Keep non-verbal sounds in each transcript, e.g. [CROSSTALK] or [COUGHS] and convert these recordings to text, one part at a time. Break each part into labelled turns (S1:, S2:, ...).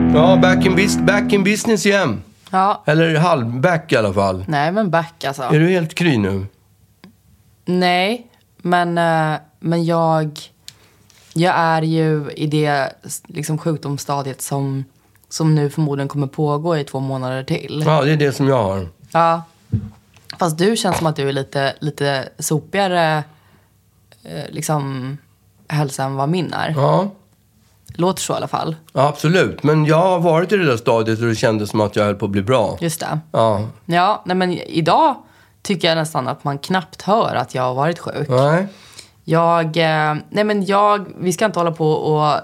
S1: in, bus- back in business igen.
S2: Ja.
S1: Eller halvback i alla fall.
S2: Nej, men back alltså.
S1: Är du helt kry nu?
S2: Nej, men, eh, men jag, jag är ju i det liksom, sjukdomsstadiet som, som nu förmodligen kommer pågå i två månader till.
S1: Ja, det är det som jag har.
S2: Ja. Fast du känns som att du är lite, lite sopigare eh, liksom, hälsa än vad min är.
S1: Ja,
S2: Låter så i alla fall.
S1: ja absolut. Men jag har varit i det där stadiet och det kändes som att jag höll på att bli bra.
S2: Just det.
S1: Ja,
S2: Ja, nej, men idag tycker jag nästan att man knappt hör att jag har varit sjuk.
S1: nej.
S2: Jag, eh, nej men jag, vi ska inte hålla på och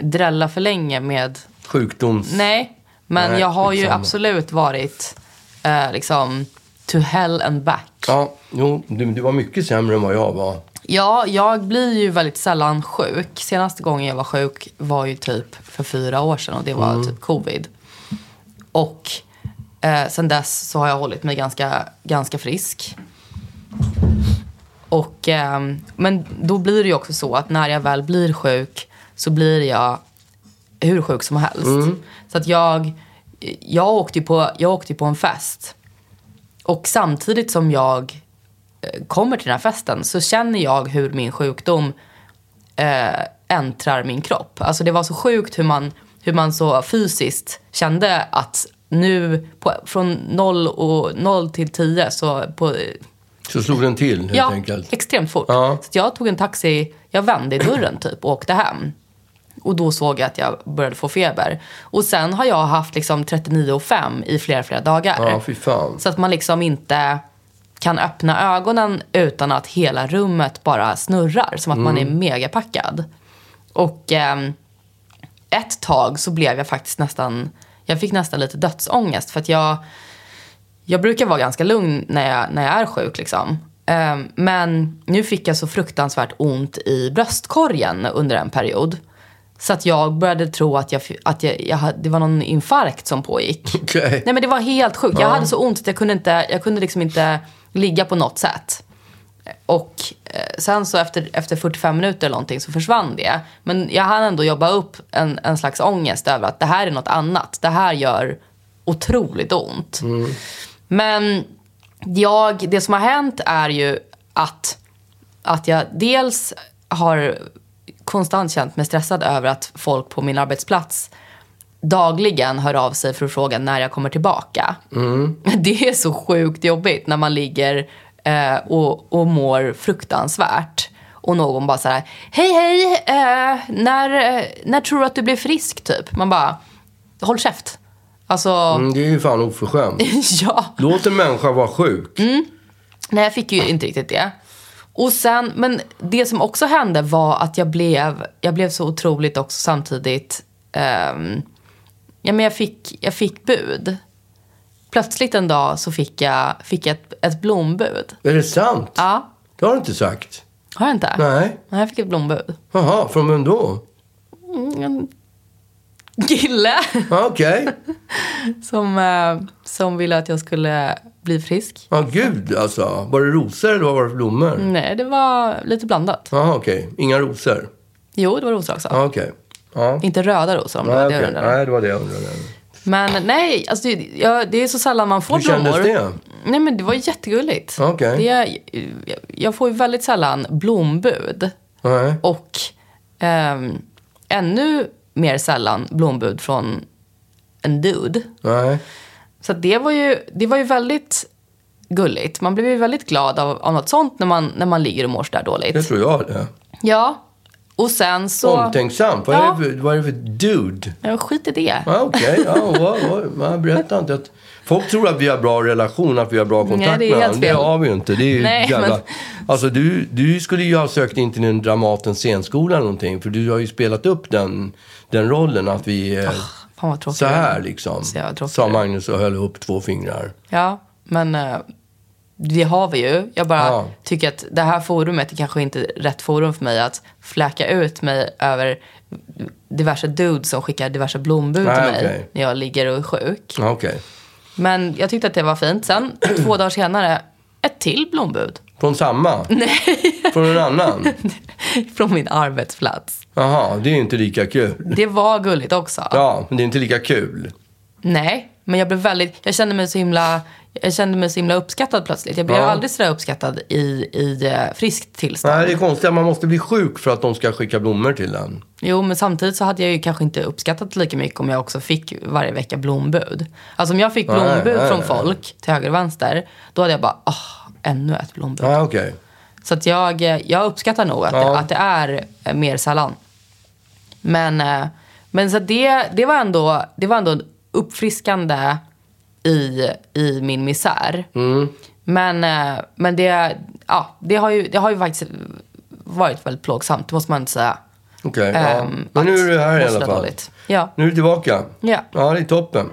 S2: drälla för länge med,
S1: Sjukdoms...
S2: nej. Men
S1: Nej,
S2: jag har ju
S1: skitsamma.
S2: absolut varit eh, liksom to hell and back.
S1: Ja, jo, du, du var mycket sämre än vad jag var.
S2: Ja, jag blir ju väldigt sällan sjuk. Senaste gången jag var sjuk var ju typ för fyra år sedan och det var typ covid. Och eh, sen dess så har jag hållit mig ganska, ganska frisk. Och, ehm, men då blir det ju också så att när jag väl blir sjuk så blir jag hur sjuk som helst. Så att jag, jag, åkte ju på, jag åkte ju på en fest. Och samtidigt som jag eh, kommer till den här festen så känner jag hur min sjukdom eh, äntrar min kropp. Alltså det var så sjukt hur man, hur man så fysiskt kände att nu på, från 0, och, 0 till 10 så på
S1: Så slog den till helt
S2: ja,
S1: enkelt.
S2: extremt fort.
S1: Ja.
S2: Så att jag tog en taxi, jag vände i dörren typ och åkte hem. Och då såg jag att jag började få feber. Och sen har jag haft liksom 39,5 i flera, flera dagar.
S1: Ja, fy fan.
S2: Så att man liksom inte kan öppna ögonen utan att hela rummet bara snurrar. Som att man är megapackad. Och ehm, ett tag så blev jag faktiskt nästan... Jag fick nästan lite dödsångest. För att jag, jag brukar vara ganska lugn när jag, när jag är sjuk. Liksom. Ehm, men nu fick jag så fruktansvärt ont i bröstkorgen under en period. Så att jag började tro att, jag, att jag, jag, hade- det var någon infarkt som pågick.
S1: Okej.
S2: Nej men det var helt sjukt. Jag hade så ont att jag kunde, inte, jag kunde liksom inte ligga på något sätt. Och eh, sen så efter, efter 45 minuter eller någonting så försvann det. Men jag hann ändå jobba upp en, en slags ångest över att det här är något annat. Det här gör otroligt ont. Men jag, det som har hänt är ju att, att jag dels har konstant känt mig stressad över att folk på min arbetsplats dagligen hör av sig för att fråga när jag kommer tillbaka. [LAUGHS] Det är så sjukt jobbigt när man ligger eh, och, och mår fruktansvärt. Och någon bara så här, hej hej, eh, när, eh, när tror du att du blir frisk typ? Man bara, håll käft. Alltså,
S1: Mm, det är ju fan oförskämt.
S2: [LAUGHS] ja.
S1: Låt en människa vara sjuk.
S2: Nej, jag fick ju inte riktigt det. Och sen, men det som också hände var att jag blev, jag blev så otroligt också samtidigt... ehm, ja, men jag, fick, jag fick bud. Plötsligt en dag så fick jag, fick jag ett, ett blombud.
S1: Är det sant?
S2: Ja,
S1: Det har du inte sagt.
S2: har jag inte?
S1: Nej.
S2: Nej, jag fick ett blombud.
S1: Jaha, från vem då?
S2: Mm, en kille [LAUGHS]
S1: Ja, Okej.
S2: som, eh, som ville att jag skulle bli frisk.
S1: Ja, gud alltså. Var det rosor eller vad var det för blommor?
S2: Nej, det var lite blandat.
S1: Jaha, okej. Inga rosor?
S2: Jo, det var rosor också.
S1: Ja, okej. Ja.
S2: Inte röda rosor om det
S1: Nej,
S2: var det
S1: okej.
S2: jag undrade.
S1: Nej, det var det jag undrade.
S2: Men nej, alltså, det, ja, det är så sällan man får
S1: Hur kändes
S2: blommor.
S1: det?
S2: Nej, men det var jättegulligt.
S1: Okej.
S2: Det, är- jag, jag får ju väldigt sällan blombud.
S1: Nej.
S2: Och ehm, ännu mer sällan blombud från en dude.
S1: Nej.
S2: Så att det, var ju, det var ju väldigt gulligt. Man blev ju väldigt glad av, av något sånt när man, när man ligger och mår sådär
S1: Det
S2: dåligt.
S1: tror jag det.
S2: Ja, och sen så...
S1: Omtänksamt. Vad,
S2: Ja.
S1: är det för- vad är det för dude?
S2: Ja, Skit i det.
S1: Ja, Ah, okej. Ja, wow, wow. Man berättar inte att... Folk tror att vi har bra relation, att vi har bra kontakt
S2: Nej, det är
S1: med
S2: helt
S1: varandra. Det
S2: fel.
S1: har vi ju inte. Det är ju
S2: Nej,
S1: jävla...
S2: men-
S1: Alltså, du, du skulle ju ha sökt in till en Dramatens scenskola eller någonting. För du har ju spelat upp den, den rollen att vi är
S2: Fan vad tråkigt.
S1: så här liksom.
S2: Så jävla tråkigt.
S1: Sa Magnus och höll upp två fingrar.
S2: Ja, men eh, det har vi ju. Jag bara
S1: Ja.
S2: tycker att det här forumet är kanske inte rätt forum för mig att fläka ut mig över diverse dudes som skickar diverse blombud
S1: Nej,
S2: till mig
S1: okej.
S2: när jag ligger och är sjuk.
S1: Ja, Okej.
S2: Men jag tyckte att det var fint. Sen, [CLEARS THROAT] två dagar senare, ett till blombud. [LAUGHS]
S1: Från samma? Nej. Från en annan?
S2: från min arbetsplats.
S1: Jaha, det är ju inte lika kul.
S2: Det var gulligt också.
S1: Ja, men det är inte lika kul.
S2: Nej, men jag blev väldigt... Jag kände mig så himla, jag kände mig så himla uppskattad plötsligt. Jag blev
S1: Ja.
S2: aldrig sådär uppskattad i, i eh, friskt tillstånd.
S1: Nej, det är konstigt att man måste bli sjuk för att de ska skicka blommor till en.
S2: Jo, men samtidigt så hade jag ju kanske inte uppskattat lika mycket om jag också fick varje vecka blombud. Alltså om jag fick
S1: Nej,
S2: blombud
S1: nej,
S2: från
S1: nej.
S2: folk till höger och vänster, då hade jag bara, ah, ännu ett blombud.
S1: Ja, okej.
S2: Så att jag, eh, jag uppskattar nog att,
S1: Ja.
S2: det, att det är eh, mer sällan. Men, eh, men så att det, det, var ändå, det var ändå uppfriskande i, i min misär.
S1: Mm.
S2: Men, eh, men det, ja, det, har ju, det har ju faktiskt varit väldigt plågsamt, det måste man inte säga.
S1: Okej, ja.
S2: Ehm,
S1: Men nu
S2: att
S1: är du här i
S2: må
S1: alla
S2: sådär
S1: fall.
S2: dåligt. Ja.
S1: Nu är du tillbaka.
S2: Ja.
S1: Ja, det är toppen.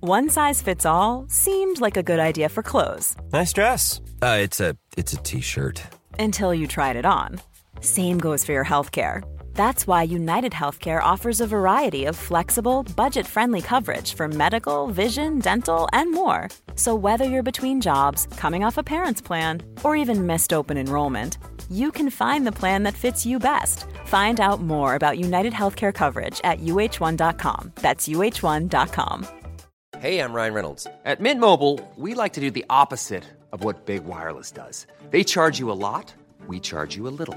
S3: One size fits all seemed like a good idea for clothes
S4: Nice dress. Uh, it's a it's a t-shirt.
S3: until you tried it on. Same goes for your healthcare. That's why United Healthcare offers a variety of flexible, budget friendly coverage for medical, vision, dental, and more. So, whether you're between jobs, coming off a parent's plan, or even missed open enrollment, you can find the plan that fits you best. Find out more about United Healthcare coverage at uh1.com. That's uh1.com.
S5: Hey, I'm Ryan Reynolds. At Mint Mobile, we like to do the opposite of what Big Wireless does. They charge you a lot, we charge you a little.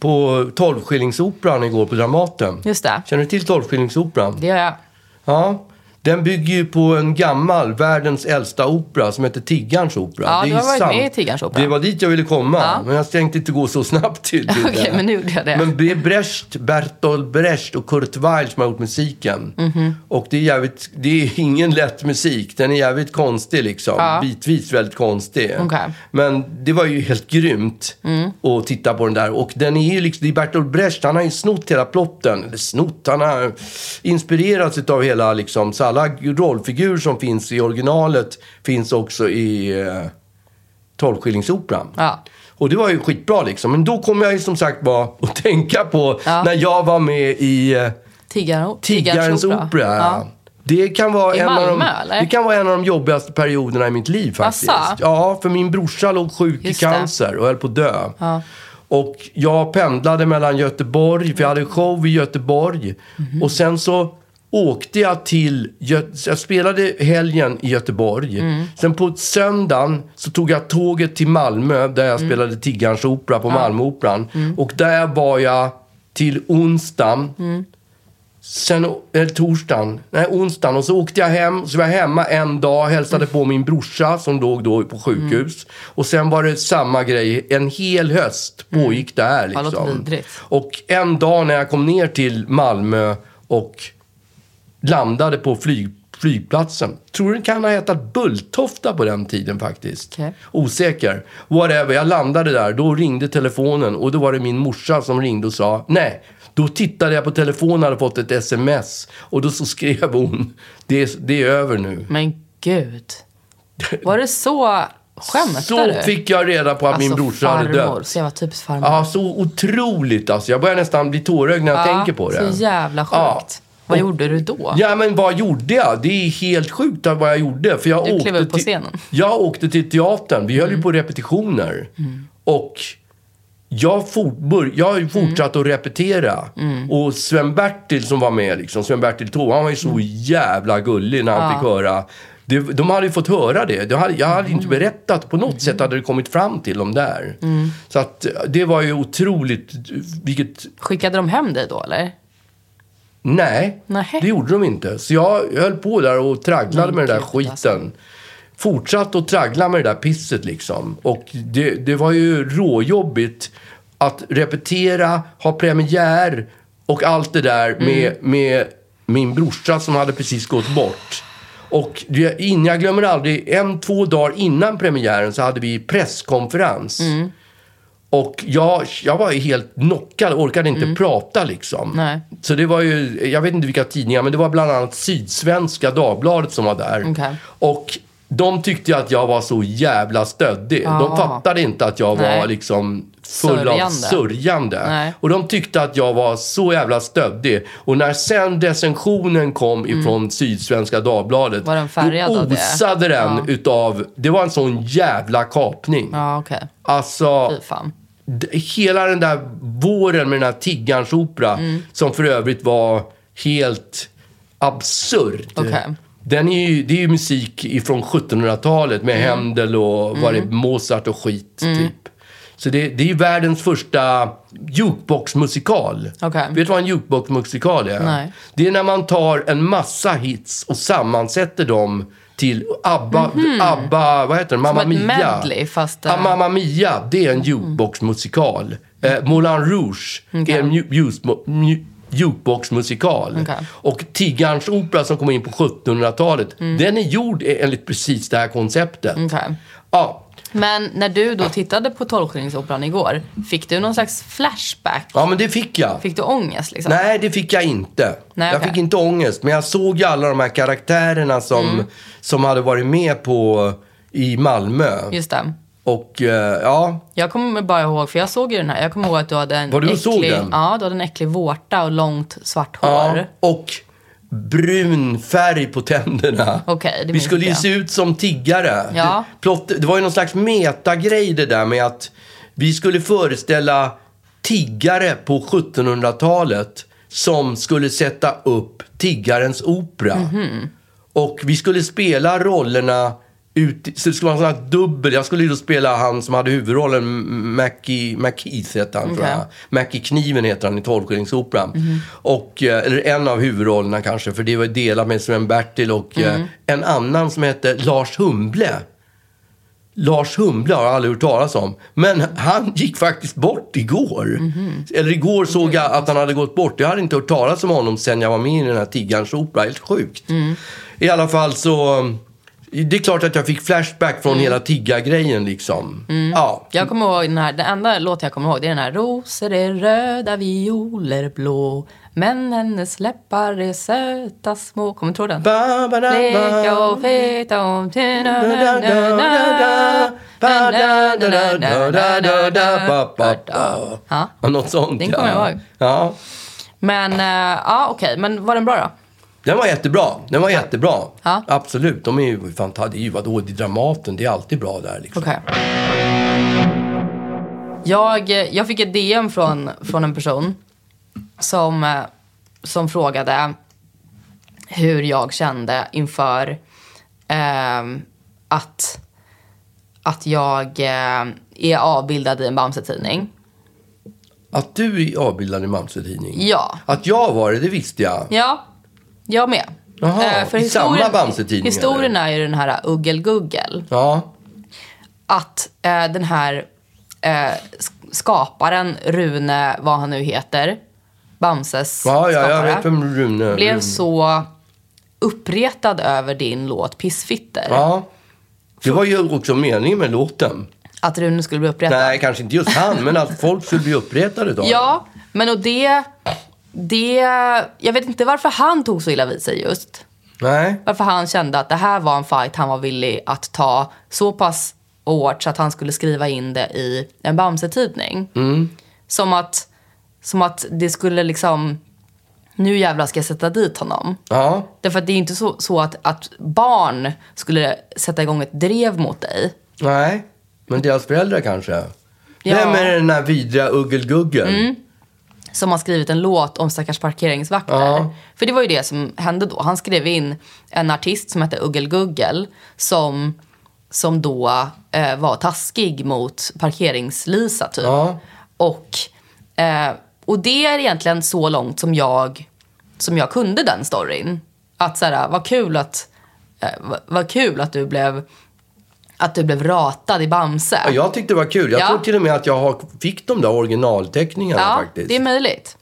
S1: på Tolvskillingsoperan igår på Dramaten.
S2: Just det.
S1: Känner du till Tolvskillingsoperan?
S2: Det gör jag.
S1: Ja. Den bygger ju på en gammal, världens äldsta opera som heter Tiggarns opera.
S2: Ja,
S1: Det är
S2: du har
S1: ju
S2: varit med i Tiggarns opera.
S1: Det var dit jag ville komma, men jag tänkte inte gå så snabbt till till
S2: [LAUGHS] Okej, men nu gjorde jag det.
S1: Men det är Brecht, Bertolt Brecht och Kurt Weill som har gjort musiken. Och det är, jävligt, det är ingen lätt musik. Den är jävligt konstig liksom. Bitvis väldigt konstig.
S2: Okej.
S1: Men det var ju helt grymt att titta på den där. Och den är ju liksom, det är Bertolt Brecht, han har ju snott hela plotten. Eller snott, han har inspirerats av hela liksom. Så alla rollfigurer som finns i originalet finns också i eh, Tolvskillingsoperan.
S2: Ja.
S1: Och det var ju skitbra liksom. Men då kom jag ju som sagt bara att [LAUGHS] tänka på
S2: Ja.
S1: när jag var med i eh,
S2: Tiggar,
S1: Tiggarens opera.
S2: Ja.
S1: Det kan, vara
S2: I
S1: en av de,
S2: Malmö, eller?
S1: det kan vara en av de jobbigaste perioderna i mitt liv faktiskt.
S2: Asså?
S1: Ja, för min brorsa låg sjuk
S2: Just
S1: i
S2: det.
S1: cancer och höll på att dö. Och jag pendlade mellan Göteborg, för jag hade show i Göteborg.
S2: Mhm.
S1: Och sen så åkte jag till, Gö- jag spelade helgen i Göteborg.
S2: Mm.
S1: Sen på söndagen så tog jag tåget till Malmö där
S2: Mm.
S1: jag spelade Tiggarns opera på Malmöoperan. Och där var jag till onsdagen. Sen, eller torsdagen, nej onsdagen. Och så åkte jag hem, så var jag hemma en dag, hälsade på min brorsa som låg då på sjukhus.
S2: Mm.
S1: Och sen var det samma grej, en hel höst pågick det här
S2: Mm. Ja, låter
S1: liksom.
S2: vidrigt.
S1: och en dag när jag kom ner till Malmö och landade på flyg, flygplatsen. Tror du det kan ha hetat Bulltofta på den tiden faktiskt.
S2: Okej.
S1: Osäker. Whatever, jag landade där. Då ringde telefonen och då var det min morsa som ringde och sa nej. Då tittade jag på telefonen och hade fått ett sms. Och då så skrev hon, det är, det är över nu.
S2: Men
S1: [LAUGHS]
S2: gud. Var det så... Skämtar
S1: Så
S2: du? Alltså,
S1: fick jag reda på att min brorsa hade
S2: farmor.
S1: dött.
S2: Så jag var typiskt farmor.
S1: Ja, så otroligt alltså. Jag börjar nästan bli tårögd när jag
S2: Ja,
S1: tänker på det.
S2: Så jävla sjukt.
S1: Ja.
S2: Vad
S1: Och-
S2: gjorde du då?
S1: Ja, men vad gjorde jag? Det är helt sjukt vad jag gjorde. För jag
S2: Du klev
S1: åkte
S2: upp på
S1: till,
S2: scenen. Mm.
S1: Jag åkte till teatern. Vi höll ju på repetitioner. Och jag, for, bör, jag
S2: Mm.
S1: har ju fortsatt att repetera. Och Sven-Bertil som var med, liksom, Sven-Bertil Taube, han var ju så
S2: Mm.
S1: jävla gullig när han fick höra. Det, de hade ju fått höra det. det hade, jag hade
S2: Mm.
S1: inte berättat. På något sätt hade det kommit fram till dem där. Så att eh, det var ju otroligt. Vilket
S2: Skickade de hem dig då eller?
S1: Nej,
S2: Nähä.
S1: det gjorde de inte. Så jag höll på där och tragglade
S2: Men
S1: med den där
S2: gud,
S1: skiten.
S2: alltså.
S1: Fortsatt att traggla med det där pisset liksom. Och det, det var ju råjobbigt att repetera, ha premiär och allt det där
S2: Mm.
S1: med, med min brorsa som hade precis gått bort. Och det, in,
S2: Mm.
S1: jag glömmer aldrig, en, två dagar innan premiären så hade vi presskonferens. Och jag, jag var ju helt knockad, orkade inte prata liksom.
S2: Mm. Nej.
S1: Så det var ju, jag vet inte vilka tidningar, men det var bland annat Sydsvenska Dagbladet som var där.
S2: Okej.
S1: Och de tyckte ju att jag var så jävla stöddig. De
S2: Ah.
S1: fattade inte att jag var
S2: Nej.
S1: liksom full av
S2: Sörjande.
S1: sörjande.
S2: Nej.
S1: Och de tyckte att jag var så jävla stöddig. Och när sen recensionen kom ifrån Sydsvenska Dagbladet.
S2: Mm. Var den färgad
S1: då
S2: av det? Ah.
S1: osade den utav, det var en sån jävla kapning.
S2: Ja, okej.
S1: Alltså,
S2: Ah. Fy fan.
S1: d- hela den där våren med den här tiggarns opera,
S2: Mm.
S1: som för övrigt var helt absurd.
S2: Okej.
S1: Den är ju, det är ju musik ifrån 1700-talet med
S2: Mm.
S1: Händel och vad det, Mozart och skit, typ. Så det, det är ju världens första jukeboxmusikal.
S2: Okej.
S1: Vet du vad en jukeboxmusikal är?
S2: Nej.
S1: Det är när man tar en massa hits och sammansätter dem till ABBA, ABBA vad heter det? Mamma
S2: Mhm. ett
S1: Mia.
S2: medley, fast, eh,
S1: Ja, Mamma Mia, det är en jukeboxmusikal. Eh, Moulin Rouge är en ju- ljus- mu- jukeboxmusikal.
S2: Okej.
S1: Och Tiggarns opera som kom in på 1700-talet, den är gjord e, enligt precis det här konceptet.
S2: Mm. Okej.
S1: Ja,
S2: Men när du då tittade på Tolvskillingsoperan igår, fick du någon slags flashback?
S1: ja, men det fick jag.
S2: Fick du ångest liksom?
S1: Nej, det fick jag inte.
S2: Nej,
S1: jag
S2: okej.
S1: fick inte ångest, men jag såg ju alla de här karaktärerna som,
S2: Mm.
S1: som hade varit med på i Malmö.
S2: Just det.
S1: Och eh, ja,
S2: Jag kommer bara ihåg, för jag såg ju den här. Jag kommer ihåg att du hade en
S1: Var du och
S2: äcklig,
S1: såg den?
S2: Ja, du hade en äcklig vårta och långt svart hår.
S1: Ja, och brun färg på tänderna.
S2: Okej, det
S1: Vi
S2: minns
S1: skulle ju
S2: jag.
S1: se ut som tiggare.
S2: Ja.
S1: Det, plott, det var ju någon slags metagrej det där med att vi skulle föreställa tiggare på 1700-talet som skulle sätta upp tiggarens opera. Och vi skulle spela rollerna ut, så det skulle vara en sån här dubbel. Jag skulle ju då spela han som hade huvudrollen, M- Mackie, McKeith hette han tror
S2: Okej.
S1: jag. Mackie Kniven heter han i Tolvskillingsoperan. Och, eh, eller en av huvudrollerna kanske, för det var delat med Sven-Bertil och eh, en annan som hette Lars Humble. Lars Humble har jag aldrig hört talas om. Men han gick faktiskt bort igår.
S2: Mhm.
S1: Eller igår såg jag
S2: Mm.
S1: att han hade gått bort. Jag hade inte hört talas om honom sen jag var med i den här Tiggarns opera. Helt sjukt.
S2: Mm.
S1: I alla fall så... um, Det är klart att jag fick flashback
S2: Mm.
S1: från hela tiggargrejen liksom. Ja.
S2: Jag kommer ihåg den här, den enda låten jag kommer ihåg det är den här Rosor är röda, violer blå Men hennes läppar är söta små Kommer du ihåg den?
S1: Ba, ba, da,
S2: Bleka
S1: ba.
S2: och feta om Ja.
S1: Ja, Något sånt
S2: Den kommer jag ihåg.
S1: Ja.
S2: Men, eh, ja okej, men var den bra då?
S1: Den var jättebra. Den var jättebra.
S2: Ja.
S1: Absolut. De är ju fantastiska. Det är ju vadå, det är Dramaten. Det är alltid bra där liksom.
S2: Okej. Jag, eh, jag fick ett DM från, från en person som, eh, som frågade hur jag kände inför ehm, att, att jag eh, är avbildad i en Bamse-tidning.
S1: Att du är avbildad i Mamse Tidning.
S2: Ja.
S1: Att jag var det, det visste jag.
S2: Ja, jag med.
S1: Jaha,
S2: Eh,
S1: i samma Bamse-tidning, eller?
S2: Historien är ju den här Uggel-Guggel.
S1: Ja.
S2: att eh, den här eh, sk- skaparen, Rune, vad han nu heter, Bamses
S1: Ja, ja, jag
S2: skapare,
S1: vet vem Rune...
S2: blev
S1: Rune-
S2: så uppretad över din låt Pissfitter.
S1: Ja. Det var ju också meningen med låten.
S2: Att Rune skulle bli uppretad.
S1: Nej, kanske inte just han, men att folk skulle bli uppretade då.
S2: Ja, men och det, det... Jag vet inte varför han tog så illa vid sig just.
S1: Nej.
S2: Varför han kände att det här var en fight han var villig att ta så pass hårt så att han skulle skriva in det i en Bamse-tidning. Som, att, som att det skulle liksom... Nu jävlar ska jag sätta dit honom.
S1: Ja.
S2: Därför att det är inte så, så att, att barn skulle sätta igång ett drev mot dig.
S1: Nej. Men deras föräldrar kanske.
S2: Ja. Mm.
S1: Vem är den där vidriga Uggel-Guggel?
S2: som har skrivit en låt om stackars parkeringsvakter.
S1: Ja.
S2: För det var ju det som hände då. Han skrev in en artist som hette Uggel Guggel som, som då eh, var taskig mot parkeringslisa typ.
S1: Ja.
S2: Och, eh, och det är egentligen så långt som jag, som jag kunde den storyn. Att så här, vad kul att, eh, vad, vad kul att du blev att du blev ratad i Bamse.
S1: Ja, Jag tyckte det var kul. Jag
S2: Ja.
S1: tror till och med att jag har, fick de där originalteckningarna
S2: Ja,
S1: faktiskt.
S2: det är möjligt.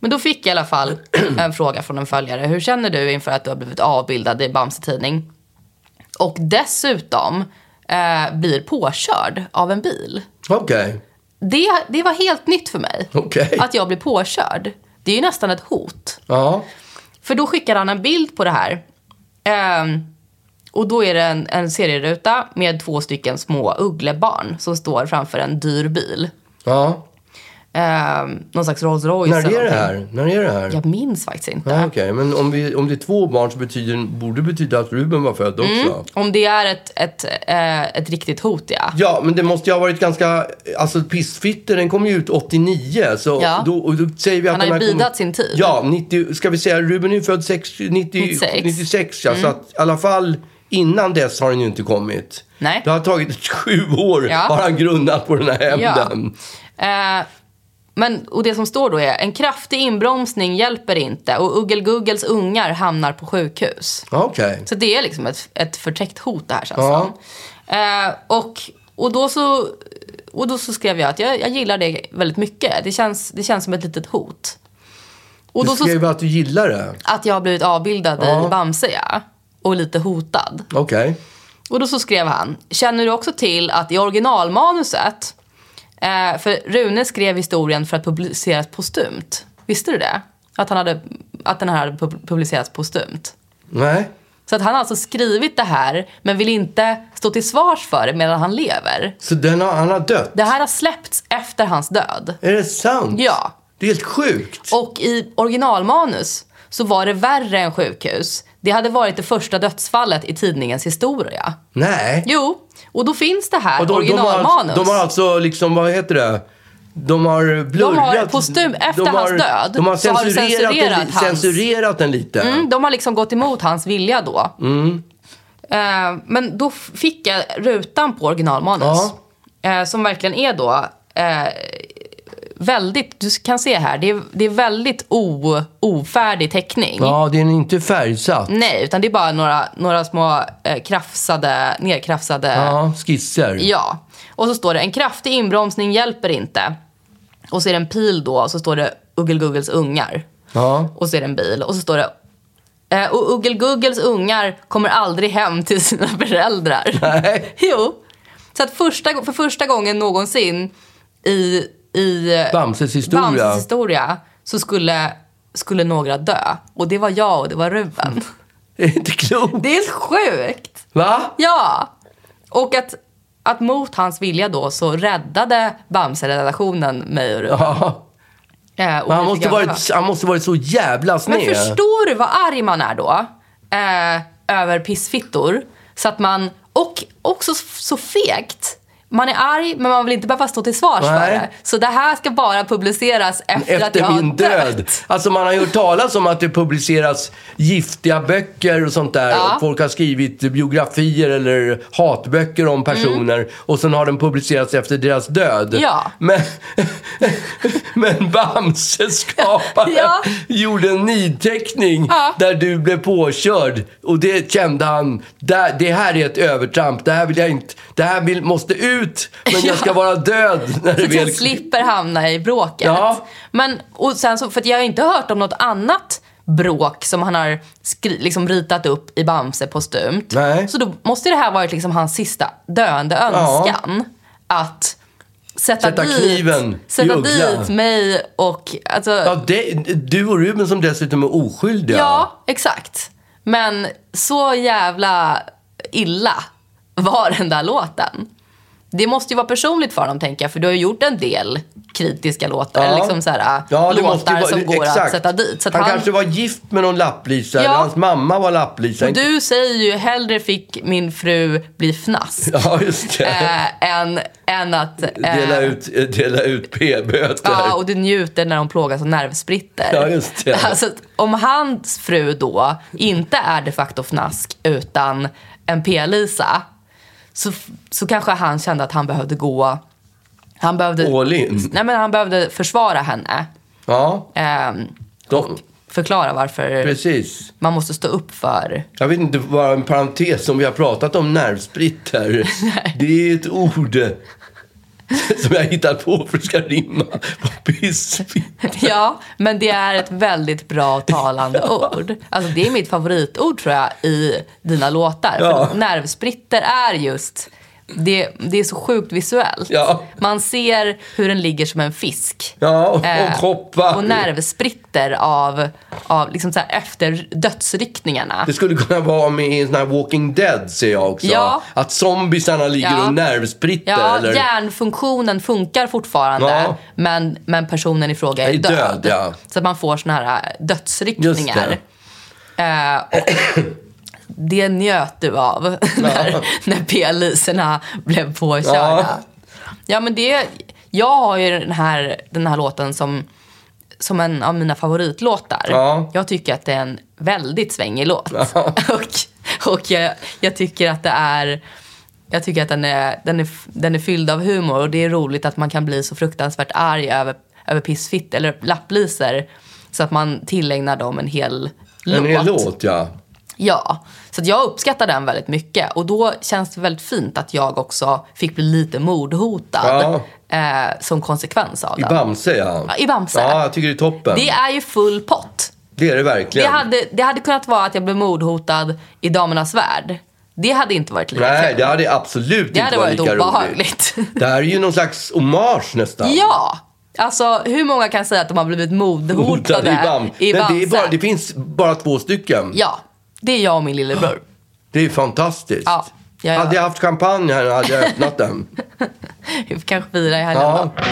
S2: Men då fick jag i alla fall [CLEARS THROAT] en fråga från en följare. Hur känner du inför att du har blivit avbildad i Bamse tidning? Och dessutom eh, blir påkörd av en bil.
S1: Okej.
S2: Det, det var helt nytt för mig.
S1: Okej.
S2: Att jag blir påkörd. Det är ju nästan ett hot.
S1: Ja.
S2: För då skickar han en bild på det här. Ehm, och då är det en, en serieruta med två stycken små ugglebarn som står framför en dyr bil.
S1: ja.
S2: Ehm, någon slags Rolls Royce.
S1: När
S2: eller
S1: är det
S2: någonting.
S1: här? När är det här?
S2: Jag minns faktiskt inte.
S1: Ja, Okej, men om, vi, om det är två barn så betyder, borde det betyda att Ruben var född också.
S2: Om det är ett, ett, eh, ett riktigt hot, ja.
S1: Ja, men det måste ju ha varit ganska... Alltså Pissfitter, den kom ju ut 89. Så
S2: Ja.
S1: då, och då säger vi att
S2: Han har
S1: den
S2: ju
S1: här kom-
S2: bidat sin tid.
S1: Ja, 90, ska vi säga Ruben är ju född 60, 90, 96.
S2: 96.
S1: ja,
S2: Mm.
S1: så att i alla fall innan dess har den ju inte kommit.
S2: Nej.
S1: Det har tagit sju år
S2: Ja.
S1: har han grundat på den här hämnden.
S2: Eh, men, och det som står då är en kraftig inbromsning hjälper inte och Uggelguggels ungar hamnar på sjukhus.
S1: Ja. Okej.
S2: Så det är liksom ett, ett förtäckt hot det här känns
S1: Ja.
S2: som. Eh, och, och, då så, och då så skrev jag att jag, jag gillar det väldigt mycket. Det känns, det känns som ett litet hot. Och
S1: Du
S2: då så,
S1: skrev att du gillar det.
S2: att jag har blivit avbildad
S1: Ja.
S2: i Bamse ja, och lite hotad.
S1: Okej.
S2: Och då så skrev han, känner du också till att i originalmanuset, eh, för Rune skrev historien för att publiceras postumt. Visste du det? Att, han hade, att den här hade pub- publicerats postumt.
S1: Nej.
S2: Så att han har alltså skrivit det här, men vill inte stå till svars för det medan han lever.
S1: Så den har, han har dött?
S2: Det här har släppts efter hans död.
S1: Är det sant?
S2: Ja.
S1: Det är helt sjukt.
S2: Och i originalmanus så var det värre än sjukhus. Det hade varit det första dödsfallet i tidningens historia.
S1: Nej.
S2: Jo, och då finns det här
S1: Och de, de, har,
S2: originalmanus.
S1: de har alltså liksom, vad heter det? De har blurrat.
S2: De har postum- efter hans död
S1: De har
S2: så har de
S1: censurerat,
S2: censurerat
S1: den, li-
S2: hans-
S1: censurerat den lite.
S2: Mm, de har liksom gått emot hans vilja då.
S1: Mm.
S2: Eh, men då f- fick jag rutan på originalmanus. Eh, som verkligen är då eh, väldigt, du kan se här, det är, det är väldigt o, ofärdig teckning.
S1: Ja, den är inte färgsatt.
S2: Nej, utan det är bara några, några små eh, krafsade, nerkrafsade
S1: Ja, skisser.
S2: Ja. Och så står det en kraftig inbromsning hjälper inte. Och så är det en pil då och så står det Uggelguggels ungar.
S1: Ja.
S2: Och så är det en bil och så står det eh, och Uggelguggels ungar kommer aldrig hem till sina [LAUGHS] föräldrar.
S1: Nej.
S2: [LAUGHS] Jo. Så att första, för första gången någonsin i, i eh,
S1: Bamses historia.
S2: Bamses historia så skulle, skulle några dö. Och det var jag och det var Ruben.
S1: [LAUGHS] Det [LAUGHS] är inte klokt.
S2: Det är sjukt!
S1: Va?
S2: Ja! Och att, att mot hans vilja då så räddade Bamse-redaktionen mig och Ruben.
S1: Ja.
S2: Eh, och
S1: Men han,
S2: lite
S1: måste
S2: grann va?
S1: varit, han måste varit så jävla
S2: Men
S1: sned.
S2: förstår du vad arg man är då? Eh, över pissfittor. Så att man, och också s- så fegt. Man är arg men man vill inte behöva stå till svars för
S1: Nej.
S2: det. Så det här ska bara publiceras efter, att jag
S1: Efter
S2: har
S1: min död.
S2: dött.
S1: Alltså man har ju hört talas om att det publiceras giftiga böcker och sånt där.
S2: Ja.
S1: Och folk har skrivit biografier eller hatböcker om personer. Och sen har den publicerats efter deras död.
S2: Mm. Ja.
S1: Men, [LAUGHS] men Bamse-skaparen
S2: Ja.
S1: gjorde en nidteckning
S2: Ja.
S1: där du blev påkörd. Och det kände han, det, det här är ett övertramp. Det här vill jag inte, det här vill, måste ut.
S2: [LAUGHS]
S1: Men jag ska vara död när [LAUGHS] det
S2: Så att
S1: väl
S2: jag slipper hamna i bråket.
S1: Ja.
S2: Men, och sen så, för att jag har inte hört om något annat bråk som han har skri- liksom ritat upp i Bamse postumt.
S1: Nej.
S2: Så då måste det här varit liksom hans sista döende önskan. Att sätta,
S1: Sätta
S2: dit,
S1: kniven i
S2: sätta
S1: ugglan.
S2: dit mig och... Alltså,
S1: Ja, det, du och Ruben som dessutom är oskyldiga.
S2: ja, exakt. Men så jävla illa var den där låten. Det måste ju vara personligt för dem, tänker jag. För du har ju gjort en del kritiska låtar.
S1: Ja.
S2: eller Liksom så här,
S1: Ja, det måste ju
S2: låtar
S1: vara-
S2: som går att
S1: exakt.
S2: sätta dit. Så att
S1: han,
S2: han
S1: kanske var gift med någon lapplisa, eller
S2: Ja.
S1: hans mamma var lapplisa.
S2: och du säger ju hellre fick min fru bli fnask
S1: [LAUGHS] Ja, just det.
S2: eh, än, än att... eh,
S1: dela ut, eh, dela ut p-böter.
S2: Ja, och du njuter när de plågas av nervspritter.
S1: Ja, just det.
S2: [LAUGHS] Alltså, att om hans fru då inte är de facto fnask utan en p-Lisa så, så kanske han kände att han behövde gå... Han behövde,
S1: All in.
S2: nej, men han behövde försvara henne.
S1: Ja,
S2: ehm,
S1: de,
S2: förklara varför
S1: precis.
S2: man måste stå upp för...
S1: Jag vet inte, bara en parentes som vi har pratat om
S2: [LAUGHS]
S1: nervspritter. det är ett ord [LAUGHS] som jag hittat på för att det ska rimma på pissfitter.
S2: [LAUGHS] Ja, men det är ett väldigt bra talande ord. Alltså, det är mitt favoritord tror jag i dina låtar.
S1: Ja.
S2: För nervspritter är just det, det är så sjukt visuellt.
S1: Ja.
S2: Man ser hur den ligger som en fisk.
S1: Ja, och,
S2: Eh,
S1: och hoppar.
S2: Och nervspritter av, av liksom så här efter dödsryckningarna.
S1: Det skulle kunna vara med i en sån här Walking Dead ser jag också.
S2: Ja.
S1: Att zombisarna ligger
S2: Ja.
S1: och nervspritter.
S2: Ja,
S1: eller...
S2: hjärnfunktionen funkar fortfarande
S1: Ja.
S2: men, men personen i fråga är,
S1: Är död, ja.
S2: Så att man får såna här äh,
S1: Just
S2: dödsryckningar.
S1: det.
S2: Eh, och [COUGHS] det njöt du av [LAUGHS] när, när p-liserna blev påkörda.
S1: Ja.
S2: Ja. men det, jag har ju den här, den här låten som, som en av mina favoritlåtar.
S1: Ja.
S2: Jag tycker att det är en väldigt svängig låt. [LAUGHS] och och jag, jag tycker att det är... Jag tycker att den är, den, är, den är fylld av humor och det är roligt att man kan bli så fruktansvärt arg över, över pissfitt eller lappliser så att man tillägnar dem en hel låt.
S1: En hel låt, ja.
S2: Ja, så att jag uppskattar den väldigt mycket. Och då känns det väldigt fint att jag också fick bli lite mordhotad eh, som konsekvens av
S1: I
S2: den.
S1: Bamse, ja.
S2: Ja, i Bamse.
S1: Ja, jag tycker det är toppen.
S2: Det är ju full pott.
S1: Det är det
S2: Det
S1: verkligen.
S2: hade, det hade kunnat vara att jag blev mordhotad i Damernas Värld. Det hade inte varit lika
S1: Nej,
S2: kul.
S1: det hade absolut
S2: Det
S1: inte
S2: hade
S1: varit
S2: varit
S1: lika roligt.
S2: obehagligt.
S1: Det här är ju någon slags hommage nästan.
S2: [LAUGHS] ja! Alltså, hur många kan säga att de har blivit
S1: Hotade
S2: mordhotade
S1: i Bam. Nej,
S2: i
S1: det,
S2: Bamse?
S1: är bara, det finns bara två stycken.
S2: Ja, det är jag och min lillebror.
S1: Det är fantastiskt.
S2: Ja, ja, ja.
S1: Hade jag haft champagne här hade jag öppnat den.
S2: Vi får kanske fira i helgen
S1: Ja.
S2: då.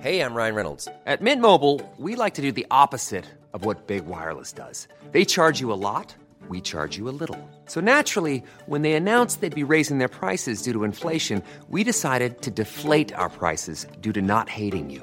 S5: Hey, I'm Ryan Reynolds. At Mint Mobile, we like to do the opposite of what Big Wireless does. They charge you a lot, we charge you a little. So naturally, when they announced they'd be raising their prices due to inflation, we decided to deflate our prices due to not hating you.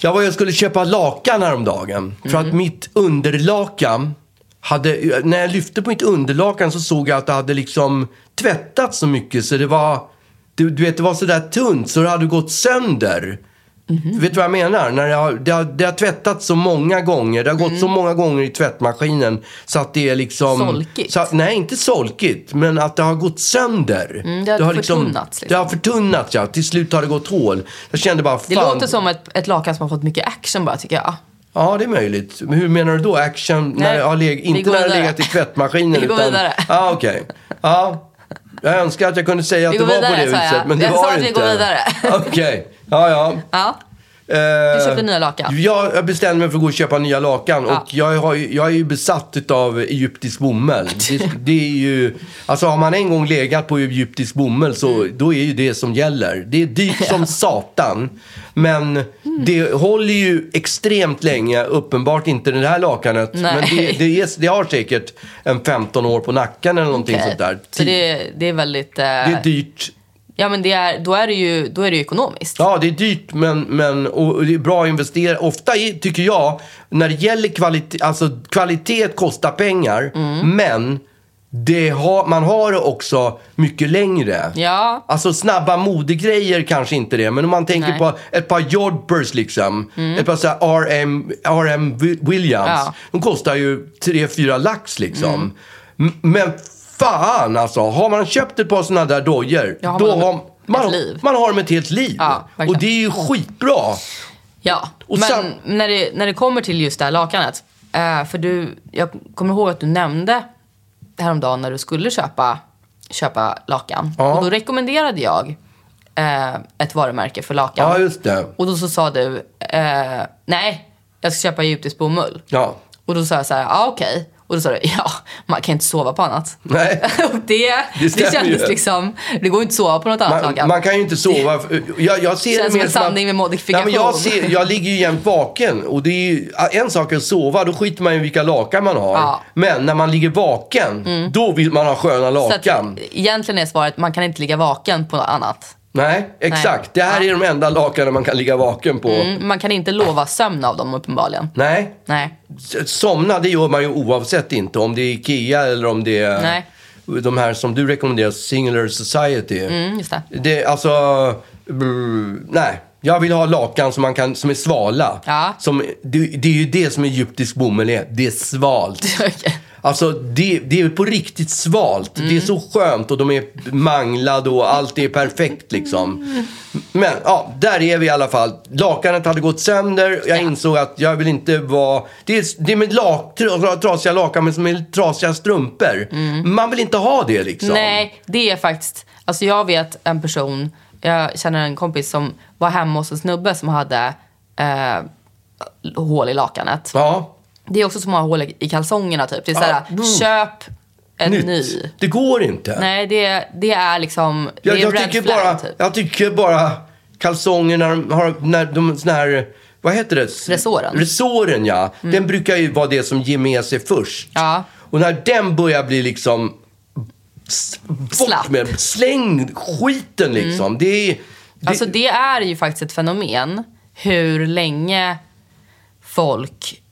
S1: Jag var jag skulle köpa lakan häromdagen. För
S2: Mhm.
S1: att mitt underlakan hade, när jag lyfte på mitt underlakan så såg jag att det hade liksom tvättats så mycket så det var, du, du vet det var sådär tunt så det hade gått sönder.
S2: Mhm.
S1: Vet du vad jag menar? När jag, har- det, har, det har tvättats så många gånger. Det har gått så
S2: Mm.
S1: många gånger i tvättmaskinen så att det är liksom...
S2: Solkigt.
S1: Så att, nej, inte solkigt. Men att det har gått sönder.
S2: Mm, det har förtunnats,
S1: Det
S2: liksom.
S1: har förtunnats, ja. Till slut har det gått hål. Jag kände bara, fan.
S2: Det låter som ett, ett lakan som har fått mycket action bara tycker jag.
S1: Ja, det är möjligt. Men hur menar du då? Action? när
S2: Nej,
S1: jag har leg-
S2: vi
S1: inte
S2: går
S1: när jag har
S2: vidare.
S1: legat i tvättmaskinen.
S2: [LAUGHS] Vi går
S1: utan...
S2: vidare.
S1: Ja, okej. Ja. Jag önskar att jag kunde säga att
S2: Vi
S1: det
S2: går
S1: var på
S2: vidare,
S1: det
S2: sa jag.
S1: viset, men det
S2: Jag
S1: var
S2: sa att
S1: inte.
S2: vi går vidare.
S1: Okej. Ja, ja.
S2: Ja.
S1: Eh,
S2: Du köpte nya lakan.
S1: Jag jag bestämde mig för att gå och köpa nya lakan.
S2: Ja.
S1: Och jag, har, ju- jag är ju besatt av egyptisk
S2: [LAUGHS]
S1: bomull. Det, det är ju, alltså har man en gång legat på egyptisk bomull så
S2: Mm.
S1: då är ju det som gäller. Det är
S2: [LAUGHS]
S1: dyrt som satan. Men
S2: Mm.
S1: det håller ju extremt länge. Uppenbart inte det här lakanet.
S2: Nej.
S1: Men det, det, är, det har säkert en 15 år på nacken eller någonting sånt där.
S2: Så det, det är väldigt... eh,
S1: det är dyrt.
S2: Ja men det är, då är det ju, då är det ju ekonomiskt.
S1: Ja, det är dyrt men, men, och och det är bra att investera. Ofta i, tycker jag, när det gäller kvalitet, alltså kvalitet kostar pengar,
S2: Mm.
S1: men det har, man har det också mycket längre.
S2: Ja.
S1: Alltså snabba modegrejer kanske inte det, men om man tänker
S2: Nej. Mm.
S1: på ett par jodpers liksom. Ett par så här RM, RM Williams.
S2: Ja. Mm.
S1: De kostar ju 3-4 lax liksom. M- Men fan alltså, har man köpt ett par sådana där dojor,
S2: Ja, har
S1: då
S2: man
S1: har
S2: ett
S1: man,
S2: liv.
S1: man har dem ett helt liv.
S2: Ja, verkligen.
S1: och det är ju skitbra.
S2: Ja,
S1: Och
S2: men
S1: sam-
S2: när, det, när det kommer till just det här lakanet. eh, för du, jag kommer ihåg att du nämnde häromdagen när du skulle köpa, köpa lakan.
S1: Ja.
S2: Och då rekommenderade jag eh, ett varumärke för lakan.
S1: Ja, just det.
S2: Och då så sa du, eh, nej, jag ska köpa egyptisk bomull.
S1: Ja.
S2: Och då sa jag så här, ja ah, okej. Och då sa du, [LAUGHS] ja, man kan inte sova på annat. [LAUGHS]
S1: Nej.
S2: Och det,
S1: Det
S2: det,
S1: stämmer
S2: kändes
S1: ju.
S2: liksom, det går ju inte att sova på något annat
S1: Man,
S2: Hakan.
S1: man kan ju inte sova. Jag, jag ser
S2: Känns
S1: det
S2: som
S1: mer
S2: en sanning med modifikation.
S1: Nej, men jag, ser, jag ligger ju jämt vaken. Och det är ju, en sak är att sova, då skiter man i vilka lakan man har.
S2: Ja. Mm.
S1: Men när man ligger vaken, då vill man ha sköna
S2: Så att,
S1: lakan.
S2: egentligen är svaret, man kan inte ligga vaken på något annat.
S1: Nej, exakt. Det här
S2: Ja.
S1: är de enda lakanen man kan ligga vaken på.
S2: Mm, Man kan inte lova sömn av dem uppenbarligen.
S1: Nej,
S2: Nej.
S1: S- somna det gör man ju oavsett inte. Om det är IKEA eller om det är
S2: Nej.
S1: de här som du rekommenderar, Singular Society.
S2: Mm, just det. [LAUGHS]
S1: Det, alltså, brr, nej. Jag vill ha lakan som, man kan, som är svala.
S2: Ja.
S1: Som, det, det är ju det som egyptisk bomull är. Det är
S2: [LAUGHS]
S1: svalt.
S2: Okej.
S1: Alltså, det, det är på riktigt svalt.
S2: Mm.
S1: Det är så skönt och de är manglade och allt är perfekt liksom. Men ja, där är vi i alla fall. Lakanet hade gått sönder. Jag insåg att jag vill inte vara... Det är, det är med lak, tra- trasiga lakan, men som med trasiga strumpor. Man vill inte ha det liksom.
S2: Mm. Nej, det är faktiskt... Alltså jag vet en person, jag känner en kompis som var hemma hos en snubbe som hade eh, hål i lakanet.
S1: Ja.
S2: Det är också som att ha hål i i kalsongerna typ. Det är såhär,
S1: Ja, mm.
S2: köp en
S1: Nytt.
S2: ny.
S1: Det går inte.
S2: Nej, det, det är liksom... Det
S1: Jag,
S2: är en
S1: jag,
S2: red
S1: tycker
S2: flag
S1: bara,
S2: typ.
S1: jag tycker bara kalsonger när de har när de, sån här, vad heter det? S-
S2: Resåren. Mm.
S1: Resåren ja. Den brukar ju vara det som ger med sig först.
S2: Ja.
S1: Och när den börjar bli liksom s-
S2: Slapp. Mm.
S1: bort med, släng skiten liksom. Det är, det,
S2: Alltså det är ju faktiskt ett fenomen hur länge folk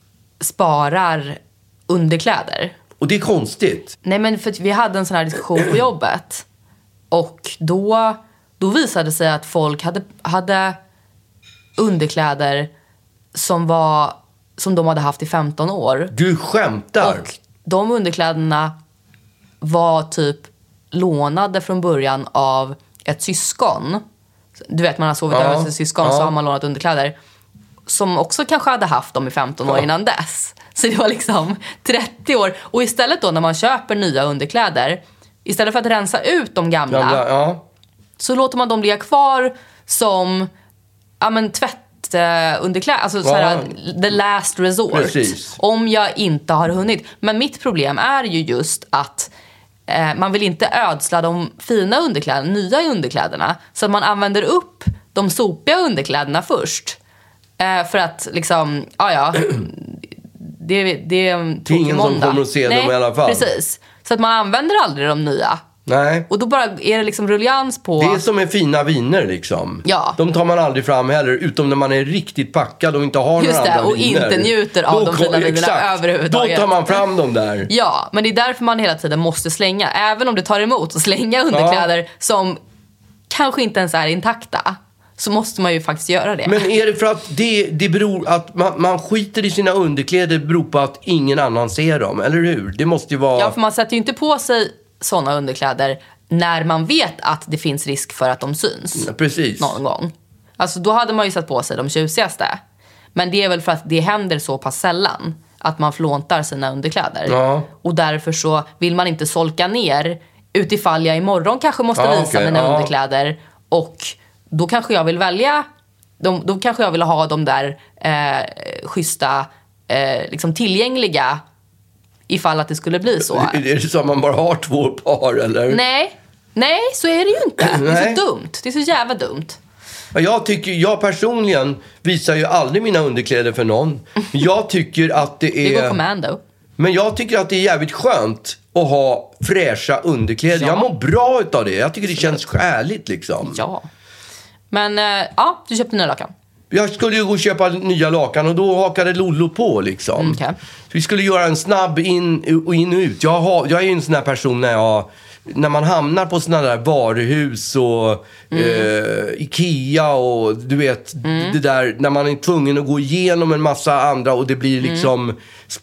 S2: sparar underkläder.
S1: och det är konstigt.
S2: Nej men för att vi hade en sån här diskussion på jobbet. Och då, då visade det sig att folk hade, hade underkläder som, var, som de hade haft i 15 år.
S1: Du skämtar.
S2: Och de underkläderna var typ lånade från början av ett syskon. Du vet, man har sovit
S1: Ja,
S2: över hos ett syskon
S1: ja.
S2: så har man lånat underkläder. Som också kanske hade haft dem i 15 år
S1: Ja.
S2: innan dess. Så det var liksom 30 år. Och istället då när man köper nya underkläder, istället för att rensa ut de gamla,
S1: Ja, bla- ja.
S2: så låter man dem ligga kvar som ja, men, tvättunderkläder. Alltså såhär, the last resort.
S1: Precis.
S2: Om jag inte har hunnit. Men mitt problem är ju just att eh, man vill inte ödsla de fina underkläderna, nya underkläderna. Så att man använder upp de sopiga underkläderna först. Eh, för att liksom, ja ja. [CLEARS THROAT] Det, det är en tråkig
S1: ingen som
S2: måndag.
S1: kommer att se dem
S2: Nej,
S1: i alla fall.
S2: Precis. Så att man använder aldrig de nya.
S1: Nej.
S2: Och då bara är det liksom rullians på...
S1: Det är som med fina viner liksom.
S2: Ja.
S1: De tar man aldrig fram heller, utom när man är riktigt packad och inte har
S2: Just
S1: några
S2: det,
S1: andra
S2: och
S1: viner.
S2: inte njuter av de fina
S1: kom-
S2: vinerna
S1: exakt.
S2: överhuvudtaget.
S1: Då tar man fram dem där.
S2: [LAUGHS] Ja, men det är därför man hela tiden måste slänga. Även om det tar emot att slänga underkläder som kanske inte ens är intakta. Så måste man ju faktiskt göra det.
S1: Men är det för att det, det beror att man, man skiter i sina underkläder beror på att ingen annan ser dem, eller hur? Det måste ju vara...
S2: Ja, för man sätter ju inte på sig såna underkläder när man vet att det finns risk för att de syns
S1: Precis.
S2: någon gång. Alltså då hade man ju satt på sig de tjusigaste. Men det är väl för att det händer så pass sällan att man flåntar sina underkläder.
S1: Ja.
S2: Och därför så vill man inte solka ner utifall jag imorgon kanske måste
S1: Ja,
S2: visa
S1: okej,
S2: mina
S1: ja.
S2: underkläder. Och då kanske jag vill välja, de, då kanske jag vill ha de där eh, schyssta, eh, liksom tillgängliga ifall att det skulle bli så.
S1: Är det så att man bara har två par, eller?
S2: Nej, nej så är det ju inte. Det är
S1: Nej.
S2: så dumt. Det är så jävla dumt.
S1: Ja, Jag, tycker, jag personligen visar ju aldrig mina underkläder för
S2: [LAUGHS]
S1: någon. Jag tycker att det
S2: Det
S1: är...
S2: går commando.
S1: Men jag tycker att det är jävligt skönt att ha fräscha underkläder.
S2: Ja.
S1: Jag mår bra utav det. Jag tycker det känns skäligt liksom.
S2: Ja. Men eh, ja, du köpte nya lakan.
S1: Jag skulle ju gå och köpa nya lakan och då hakade Lollo på liksom.
S2: Mm, okej.
S1: Så Vi skulle göra en snabb in och in och ut. Jag, har, jag är ju en sån här person när jag... När man hamnar på såna där varuhus och
S2: Mm.
S1: eh, Ikea och du vet det där när man är tvungen att gå igenom en massa andra och det blir
S2: Mm.
S1: liksom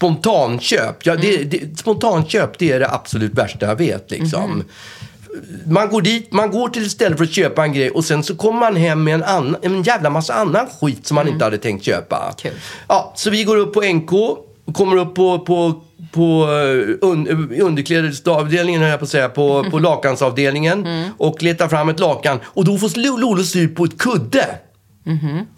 S1: spontanköp. Ja, det, det, spontanköp det är det absolut värsta jag vet liksom.
S2: Mm-hmm.
S1: Man går dit, man går till ett ställe för att köpa en grej och sen så kommer man hem med en, annan, en jävla massa annan skit som man inte hade tänkt köpa.
S2: Mm. Kul.
S1: Ja, så vi går upp på NK, och kommer upp på, på, på eh, un, underklädesavdelningen, höll jag på att säga, på,
S2: Mm.
S1: på lakansavdelningen och
S2: Mm-hmm.
S1: letar fram ett lakan. Och då får Lolo syn på ett kudde.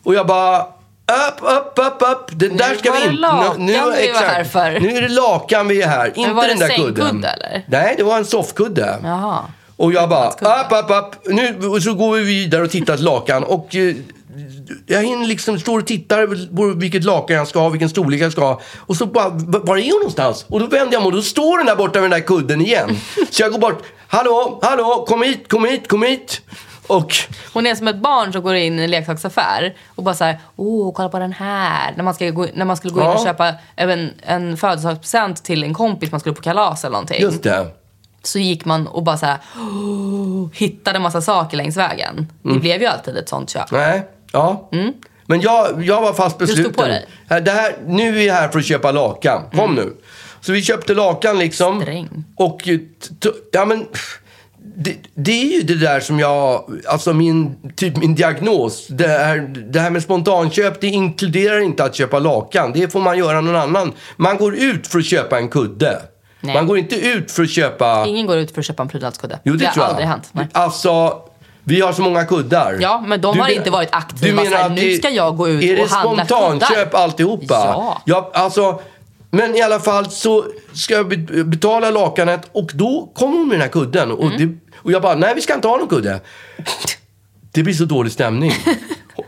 S1: Och jag bara, Upp, upp, upp, upp! Det där ska
S2: var
S1: vi
S2: det
S1: inte...
S2: lakan vi var
S1: exakt.
S2: här för.
S1: Nu är det lakan vi är här. Inte
S2: var det
S1: den där
S2: sängkudde,
S1: kudden.
S2: eller?
S1: Nej, det var en soffkudde.
S2: Jaha.
S1: Och jag bara,
S2: Nattkudde.
S1: upp, upp, upp. Nu, och så går vi vidare och tittar till lakan. Och eh, jag hinner liksom, står och tittar på vilket lakan jag ska ha, vilken storlek jag ska ha. Och så bara, "V- var är hon någonstans? Och då vänder jag mig och då står den där borta med den där kudden igen. Så jag går bort, hallå, hallå, kom hit, kom hit, kom hit. Och
S2: Hon är som ett barn som går in i en leksaksaffär och bara så här, åh, kolla på den här. När man, ska gå, när man skulle gå in
S1: Ja.
S2: och köpa en, en födelsedagspresent till en kompis man skulle på kalas eller någonting.
S1: just det.
S2: Så gick man och bara så här, åh, hittade massa saker längs vägen. Det blev ju alltid ett sånt köp.
S1: Nej, Mm. ja. Men jag, jag var fast
S2: Mm. stod
S1: besluten.
S2: på dig. Mm.
S1: Här, det här, nu är jag här för att köpa lakan. Kom nu. Så vi köpte lakan liksom.
S2: Sträng.
S1: Och eh, t- t- ja men... pff, Det, det är ju det där som jag, alltså min, typ min diagnos. Det här, det här med spontanköp, det inkluderar inte att köpa lakan. Det får man göra någon annan. Man går ut för att köpa en kudde.
S2: Nej.
S1: Man går inte ut för att köpa...
S2: Ingen går ut för att köpa en prydnadskudde.
S1: Jo, det,
S2: har
S1: tror jag.
S2: aldrig hänt.
S1: [LAUGHS]
S2: Nej.
S1: Alltså, vi har så många kuddar.
S2: Ja, men de har inte varit aktiva
S1: Du menar
S2: så här,
S1: att
S2: "Nu
S1: det-
S2: ska jag gå ut
S1: är
S2: och handla
S1: Är det spontanköp
S2: kuddar?"
S1: alltihopa?
S2: Ja.
S1: ja alltså, men i alla fall så ska jag be- betala lakanet och då kommer hon med den här kudden.
S2: Mm.
S1: Och, det, och jag bara, nej vi ska inte ha någon
S2: [LAUGHS]
S1: kudde. Det blir så dålig stämning.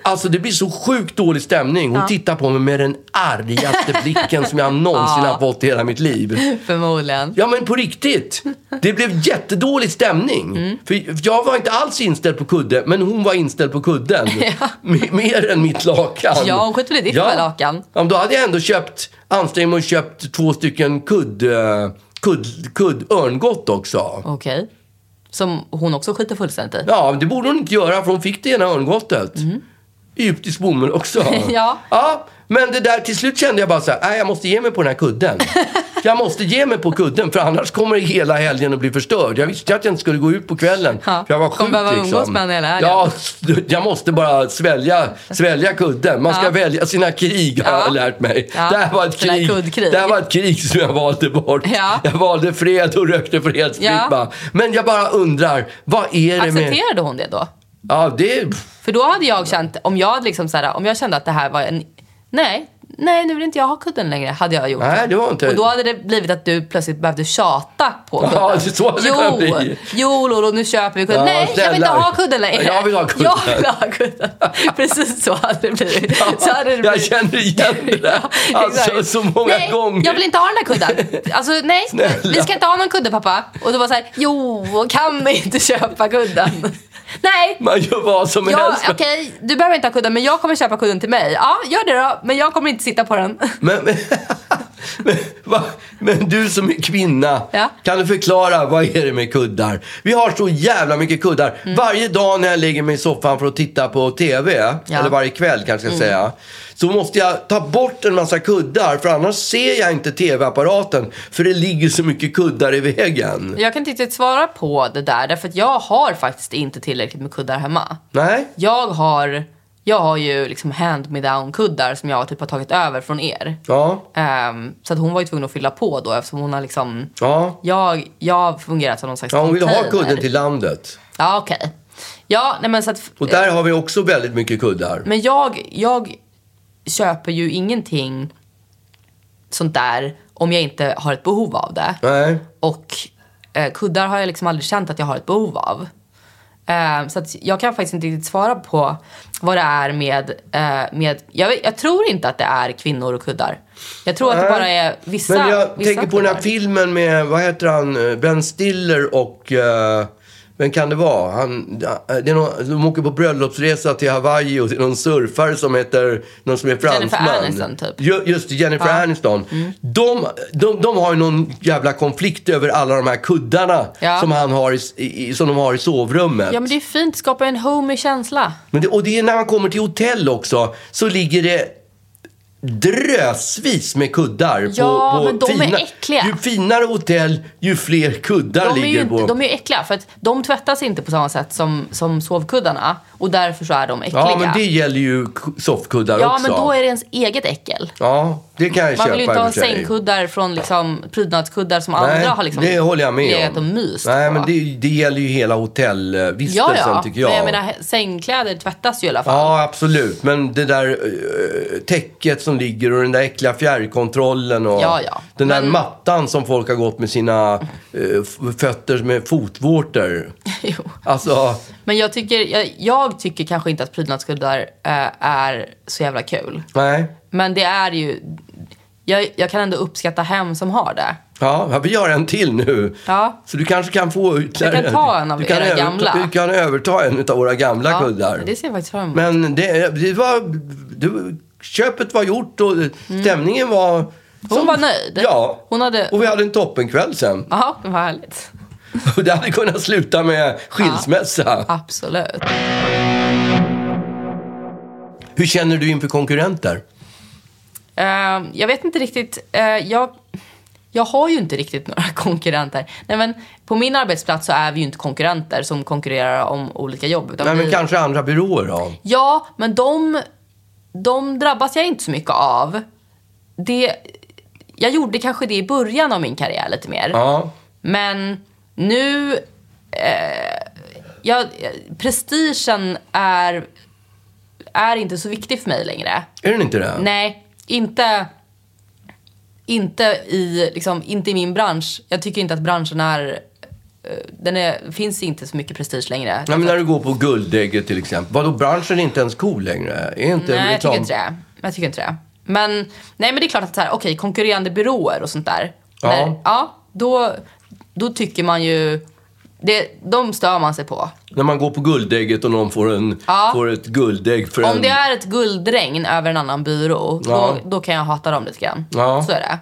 S1: Alltså det blir så sjukt dålig stämning. Hon tittar på mig med den
S2: [LAUGHS]
S1: argaste blicken som jag någonsin har fått i hela mitt liv.
S2: Förmodligen.
S1: Ja men på riktigt. Det blev jättedålig stämning.
S2: Mm.
S1: För för jag var inte alls inställd på kudde, men hon var inställd på
S2: [LAUGHS]
S1: kudden. M- Mer än mitt lakan.
S2: Ja, hon skjuter väl i ditt lilla lakan.
S1: Ja, men då hade jag ändå köpt, ansträngt mig och köpt två stycken kudd, eh, kudd, kudd örngott också.
S2: Okej. Som hon också skiter fullständigt i.
S1: Ja, men det borde hon inte göra för hon fick det ena örngottet. Egyptisk bomull också.
S2: Mm. [LAUGHS] Ja.
S1: ja. Men det där, till slut kände jag bara så här, "Nej, jag måste ge mig på den här
S2: [LAUGHS]
S1: kudden. Jag måste ge mig på kudden för annars kommer hela helgen att bli förstörd. Jag visste att jag inte skulle gå ut på kvällen.
S2: Ja,
S1: För jag var
S2: kommer
S1: sjuk
S2: behöva
S1: liksom.
S2: umgås med henne hela helgen.
S1: Ja, [LAUGHS] s- jag måste bara svälja, svälja kudden. Man ska välja sina krig har
S2: Ja.
S1: jag lärt mig.
S2: Ja,
S1: Det här var ett
S2: sådana här
S1: krig.
S2: kuddkrig.
S1: Det här var ett krig som jag valde bort.
S2: Ja.
S1: Jag valde fred och rökte fredsfritt
S2: Ja.
S1: bara. Men jag bara undrar, vad är det med...
S2: Accepterade hon det då?
S1: Ja, det...
S2: För då hade jag känt, om jag, hade liksom så här, om jag kände att det här var en... Nej, nej nu vill inte jag ha kudden längre, hade jag gjort.
S1: Nej, det var inte... [LAUGHS]
S2: Och då hade det blivit att du plötsligt behövde tjata på
S1: Ja,
S2: kudden.
S1: det är så det kan
S2: jo,
S1: bli.
S2: jo Lolo, nu köper vi kudden.
S1: Ja,
S2: Nej, jag vill inte
S1: snälla.
S2: ha kudden längre.
S1: Jag vill ha kudden.
S2: Jag vill ha kudden. [LAUGHS] Precis så hade det blivit. så hade det blivit.
S1: jag känner igen det
S2: [LAUGHS]
S1: där. Alltså,
S2: Exakt.
S1: så många
S2: nej,
S1: gånger.
S2: jag vill inte ha den där kudden. Alltså nej,
S1: Snälla.
S2: vi ska inte ha någon kudde pappa. Och då var så här, jo, kan vi inte
S1: [LAUGHS]
S2: köpa kudden? nej,
S1: Man gör vad som
S2: Ja,
S1: helst.
S2: okej, du behöver inte ha kudden men jag kommer köpa kudden till mig. Ja, gör det då. Men jag kommer inte sitta på den.
S1: Men, [LAUGHS] men, men, va? men du som är kvinna,
S2: Ja.
S1: kan du förklara vad är det med kuddar? Vi har så jävla mycket kuddar.
S2: Mm.
S1: Varje dag när jag lägger mig i soffan för att titta på TV,
S2: Ja. Mm.
S1: eller varje kväll kanske jag ska säga, så måste jag ta bort en massa kuddar för annars ser jag inte TV-apparaten för det ligger så mycket kuddar i vägen.
S2: [LAUGHS] Jag kan inte riktigt svara på det där därför att jag har faktiskt inte tillräckligt med kuddar hemma.
S1: Nej?
S2: Jag har, jag har ju liksom hand-me-down-kuddar som jag typ har tagit över från er.
S1: Ja.
S2: Ehm, så att hon var ju tvungen att fylla på då eftersom hon har liksom...
S1: Ja.
S2: Jag, jag har fungerat som någon slags
S1: Ja, hon vill ha
S2: container.
S1: kudden till landet.
S2: Ja, okej. Ja, nej men så att...
S1: Och där har vi också väldigt mycket kuddar.
S2: Men jag, jag köper ju ingenting sånt där om jag inte har ett behov av det.
S1: Nej.
S2: Och eh, kuddar har jag liksom aldrig känt att jag har ett behov av. Eh, så att jag kan faktiskt inte riktigt svara på vad det är med... Eh, med jag, vet- jag tror inte att det är kvinnor och kuddar. Jag tror att det
S1: Nej.
S2: bara är vissa
S1: Men jag
S2: vissa
S1: tänker på den här
S2: kuddar.
S1: filmen med, vad heter han, eh, Ben Stiller och, eh, vem kan det vara? Han, eh, det är någon, de åker på bröllopsresa till Hawaii och det är någon surfare som heter, någon som är fransman.
S2: Aniston, typ.
S1: Ju- Just det, Jennifer
S2: Ja. Mm.
S1: Aniston. De, de, de har ju någon jävla konflikt över alla de här kuddarna
S2: Ja.
S1: som, han har i, i, som de har i sovrummet.
S2: Ja, men det är fint. Skapa en homey känsla.
S1: Men det, och det är när man kommer till hotell också, så ligger det drösvis med kuddar.
S2: Ja,
S1: på, på
S2: men de är äckliga.
S1: Ju finare hotell, ju fler kuddar
S2: De är, ju
S1: ligger
S2: inte,
S1: på.
S2: de är ju äckliga för att de tvättas inte på samma sätt som, som sovkuddarna. Och därför så är de äckliga.
S1: Ja, men det gäller ju k- soffkuddar
S2: Ja,
S1: också.
S2: men då är det ens eget äckel.
S1: Ja, det kan jag
S2: Man
S1: köpa
S2: vill ju
S1: i
S2: inte
S1: och
S2: ha
S1: för sig.
S2: sängkuddar från liksom prydnadskuddar som andra har liksom
S1: det håller jag med
S2: legat
S1: om.
S2: och myst
S1: Nej,
S2: på.
S1: men det, det gäller ju hela hotellvistelsen
S2: Ja, ja.
S1: tycker jag.
S2: Men jag menar, he- sängkläder tvättas ju i alla fall.
S1: Ja, absolut. Men det där eh, täcket som ligger och den där äckliga fjärrkontrollen och
S2: Ja, ja.
S1: den där
S2: Men-
S1: mattan som folk har gått med sina eh, f- fötter med fotvårtor.
S2: [LAUGHS] Jo.
S1: Alltså,
S2: Men jag tycker, jag, jag tycker kanske inte att prydnadskuddar eh, är så jävla kul.
S1: nej.
S2: Men det är ju... Jag, jag kan ändå uppskatta hem som har det.
S1: Ja, ja, vi har en till nu.
S2: Ja.
S1: Så du kanske kan få ut
S2: Jag kan ta en av
S1: du kan
S2: era
S1: överta,
S2: gamla.
S1: Du kan överta en av våra gamla
S2: Ja,
S1: kuddar.
S2: det ser jag faktiskt fram emot.
S1: Men det, det var... Du, köpet var gjort och stämningen var...
S2: Mm. Hon var nöjd.
S1: Ja.
S2: Hon hade-
S1: Och vi hade en toppenkväll sen.
S2: Ja, vad härligt.
S1: Och det hade kunnat sluta med skilsmässa.
S2: Absolut.
S1: Hur känner du inför konkurrenter?
S2: Eh, jag vet inte riktigt. eh, jag, jag har ju inte riktigt [LAUGHS] några konkurrenter. Nej, men på min arbetsplats så är vi ju inte konkurrenter som konkurrerar om olika jobb. Utan
S1: Nej, men
S2: vi,
S1: kanske andra byråer då?
S2: Ja, men de, de drabbas jag inte så mycket av. Det, jag gjorde kanske det i början av min karriär lite mer.
S1: Ja.
S2: Men nu... Eh, jag, eh, prestigen är, är inte så viktig för mig längre.
S1: Är den inte det?
S2: Nej, inte, inte, i, liksom, inte i min bransch. Jag tycker inte att branschen är... eh, Den är, finns inte så mycket prestige längre.
S1: Nej, men när du går på Guldägget till exempel. Vadå, branschen är inte ens cool längre? Är inte liksom-
S2: Nej, jag
S1: reklam-
S2: tycker inte det. Jag tycker inte det. Men, nej, men det är klart att så här, okej, konkurrerande byråer och sånt där.
S1: Ja.
S2: När, ja då, då tycker man ju... Det, de stör man sig på.
S1: När man går på Guldägget och någon får, en,
S2: Ja.
S1: får ett guldägg för en...
S2: Om det är ett guldregn över en annan byrå,
S1: Ja.
S2: då, då kan jag hata dem lite grann.
S1: Ja.
S2: Så är det.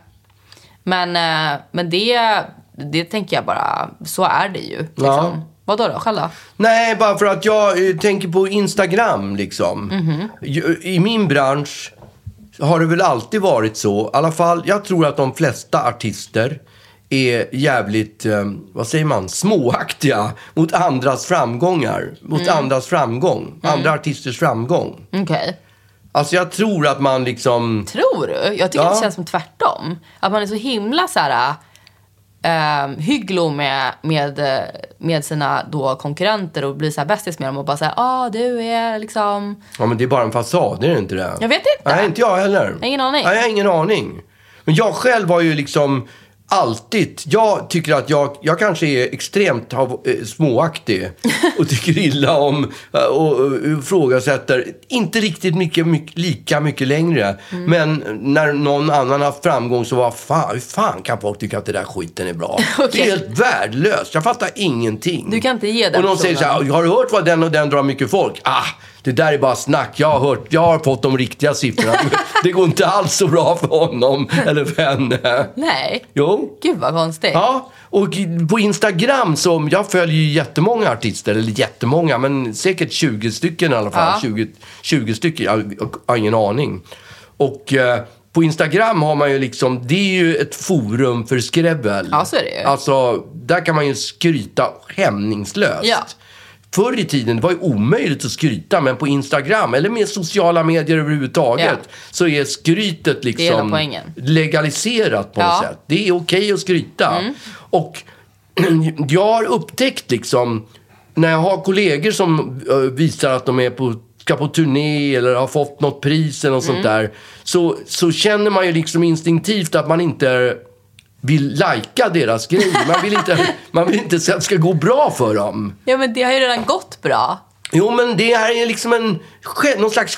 S2: Men, eh, men det, det tänker jag bara, så är det ju. Liksom.
S1: Ja.
S2: Vadå då? Själv då?
S1: Nej, bara för att jag eh, tänker på Instagram liksom. Ju- I min bransch har det väl alltid varit så. I alla fall, jag tror att de flesta artister är jävligt, eh, vad säger man, småaktiga mot andras framgångar. Mot andras framgång. Andra artisters framgång.
S2: Okej.
S1: Alltså jag tror att man liksom...
S2: Tror du? Jag tycker
S1: Ja.
S2: att det känns som tvärtom. Att man är så himla så här, eh, hygglo med, med, eh, med sina då konkurrenter och blir så här bästis med dem och bara säga ah du är liksom...
S1: Ja, men det är bara en fasad, är det inte det?
S2: Jag vet inte.
S1: Nej, inte jag heller.
S2: har ingen aning.
S1: Nej, jag har ingen aning. Men jag själv har ju liksom alltid... Jag tycker att jag, jag kanske är extremt hav, eh, småaktig och tycker illa om eh, och eh, ifrågasätter. Inte riktigt mycket, mycket, lika mycket längre.
S2: Mm.
S1: Men när någon annan har haft framgång så var fan, hur fan kan folk tycka att det där skiten är
S2: [LAUGHS]
S1: bra? Det är helt värdelöst. Jag fattar ingenting.
S2: Du kan inte ge den
S1: Och de säger så
S2: personen.
S1: här, Ja, Har du hört vad den och den drar mycket folk? Ah, det där är bara snack. Jag har, hört, jag har fått de riktiga siffrorna. [LAUGHS] det går inte alls så bra för honom eller för henne.
S2: Nej.
S1: Jo.
S2: Gud vad konstigt.
S1: Ja, och på Instagram, som jag följer ju jättemånga artister, eller jättemånga, men säkert 20 stycken i alla fall.
S2: Ja.
S1: 20, 20 stycken, jag jag har ingen aning. Och eh, på Instagram har man ju liksom, det är ju ett forum för skrävel.
S2: Ja, så är det ju.
S1: Alltså, där kan man ju skryta hämningslöst.
S2: Ja.
S1: Förr i tiden det var det omöjligt att skryta, men på Instagram eller med sociala medier överhuvudtaget
S2: Ja.
S1: så är skrytet liksom
S2: hela
S1: liksom
S2: poängen.
S1: legaliserat på
S2: Ja.
S1: något sätt. Det är okej att skryta. Och [CLEARS THROAT] jag har upptäckt liksom, när jag har kollegor som eh, visar att de är på, ska på turné eller har fått något pris eller något sånt där. Så, så känner man ju liksom instinktivt att man inte vill lajka deras grejer. Man vill inte, man vill inte så att det ska gå bra för dem.
S2: Ja men det har ju redan gått bra.
S1: Jo, men det här är liksom en, själv- någon slags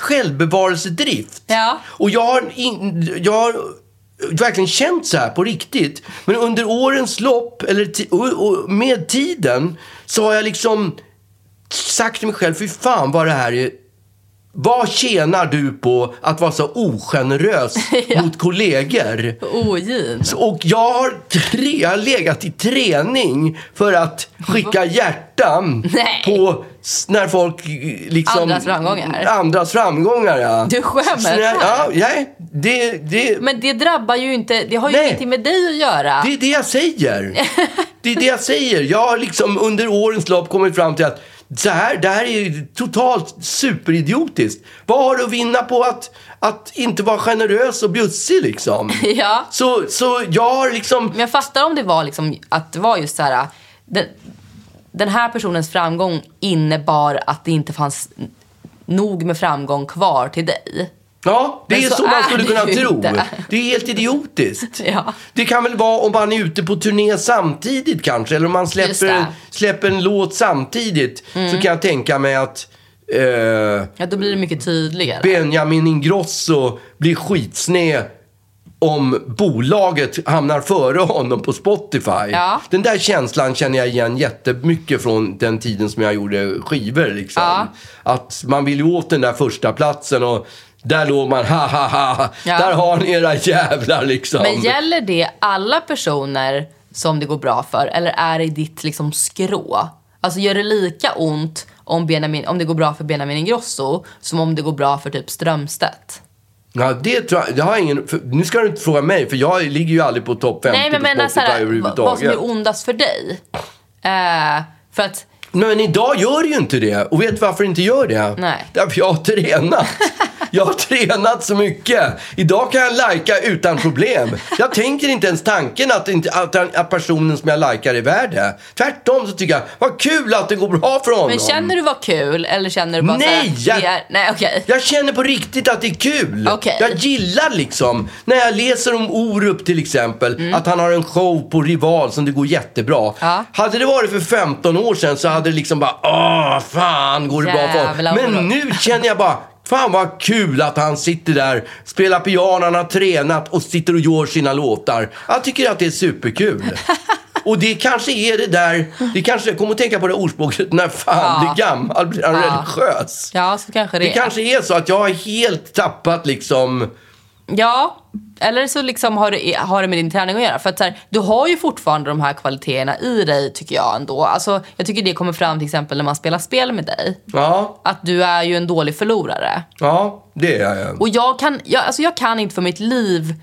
S1: självbevarelsedrift.
S2: Ja.
S1: Och jag har, in, jag har verkligen känt så här på riktigt. Men under årens lopp, eller ti, och, och med tiden, så har jag liksom sagt till mig själv, fy fan vad det här är vad tjänar du på att vara så ogenerös mot kollegor?
S2: Oh, Ogin.
S1: Så- Och jag har, tre, jag har legat i träning för att
S2: [LAUGHS]
S1: skicka hjärtan
S2: Nej.
S1: på s- när folk eh, liksom...
S2: Andras framgångar.
S1: Andras framgångar, ja.
S2: Du skämtar.
S1: Så när- Ja, nej. Det, det,
S2: Men det drabbar ju inte, det har ju
S1: Nej.
S2: ingenting med dig att göra. [LAUGHS]
S1: det är det jag säger. Det är det jag säger. Jag har liksom under årens lopp kommit fram till att Så här, det här är ju totalt superidiotiskt. Vad har du att vinna på att, att inte vara generös och bjussig liksom?
S2: [LAUGHS] Ja.
S1: Så, så jag har liksom...
S2: Men jag fattar om det var liksom att det var just så här. Den, den här personens framgång innebar att det inte fanns nog med framgång kvar till dig.
S1: Ja, det
S2: Men
S1: är
S2: så
S1: så, man
S2: är
S1: skulle
S2: det
S1: kunna
S2: ju
S1: tro.
S2: inte.
S1: Det är helt idiotiskt.
S2: Ja.
S1: Det kan väl vara om man är ute på turné samtidigt kanske, eller om man
S2: Just
S1: släpper,
S2: det. Mm.
S1: släpper en låt samtidigt. Så kan jag tänka mig att eh,
S2: Ja, då blir det mycket tydligare.
S1: Benjamin Ingrosso blir skitsned om bolaget hamnar före honom på Spotify.
S2: Ja.
S1: Den där känslan känner jag igen jättemycket från den tiden som jag gjorde skivor. Liksom.
S2: Ja.
S1: Att man vill ju åt den där första platsen och där låg man [LAUGHS] ha ha ha.
S2: Ja.
S1: Där har ni era jävlar liksom.
S2: Men gäller det alla personer som det går bra för eller är det i ditt liksom skrå? Alltså gör det lika ont om, Benjamin, om det går bra för Benjamin Ingrosso som om det går bra för typ Strömstedt?
S1: ja, det, tror jag, det har jag ingen, för, nu ska du inte fråga mig för jag ligger ju aldrig på topp 50
S2: Nej men
S1: på
S2: menar
S1: Spotify
S2: såhär, vad, vad som
S1: överhuvudtaget.
S2: är ondast för dig? Eh, för att,
S1: Men idag gör det ju inte det. Och vet du varför det inte gör det?
S2: Nej.
S1: Därför jag har
S2: [LAUGHS]
S1: tränat. Jag har tränat så mycket. Idag kan jag lajka utan problem. Jag tänker inte ens tanken att, inte, att, den- att personen som jag lajkar är värd det. Tvärtom så tycker jag, vad kul att det går bra för honom.
S2: men känner du vad kul eller känner du bara
S1: Nej, jag-
S2: såhär, det är, nej okej.
S1: Jag känner på riktigt att det är kul.
S2: Okej.
S1: Jag gillar liksom, när jag läser om Orup till exempel, att han har en show på Rival som det går jättebra.
S2: Mm. Ja.
S1: Hade det varit för 15 år sedan så hade det liksom bara, åh fan går det bra för
S2: Jävlar
S1: honom.
S2: vad
S1: Men
S2: bra.
S1: nu känner jag bara, fan vad kul att han sitter där, spelar piano, han har tränat och sitter och gör sina låtar. Jag tycker att det är superkul.
S2: [LAUGHS]
S1: Och det kanske är det där, det kanske, jag kommer att tänka på det ordspråket, när fan
S2: Ja.
S1: blir gammal blir han
S2: Ja.
S1: religiös.
S2: Ja, så kanske det,
S1: Det kanske är så att jag har helt tappat liksom...
S2: Ja, eller så liksom har, det, har det med din träning att göra. För att så här, du har ju fortfarande de här kvaliteterna i dig tycker jag ändå. Alltså, jag tycker det kommer fram till exempel när man spelar spel med dig.
S1: Ja,
S2: Att du är ju en dålig förlorare.
S1: ja det är jag.
S2: Och jag kan, jag, alltså jag kan inte för mitt liv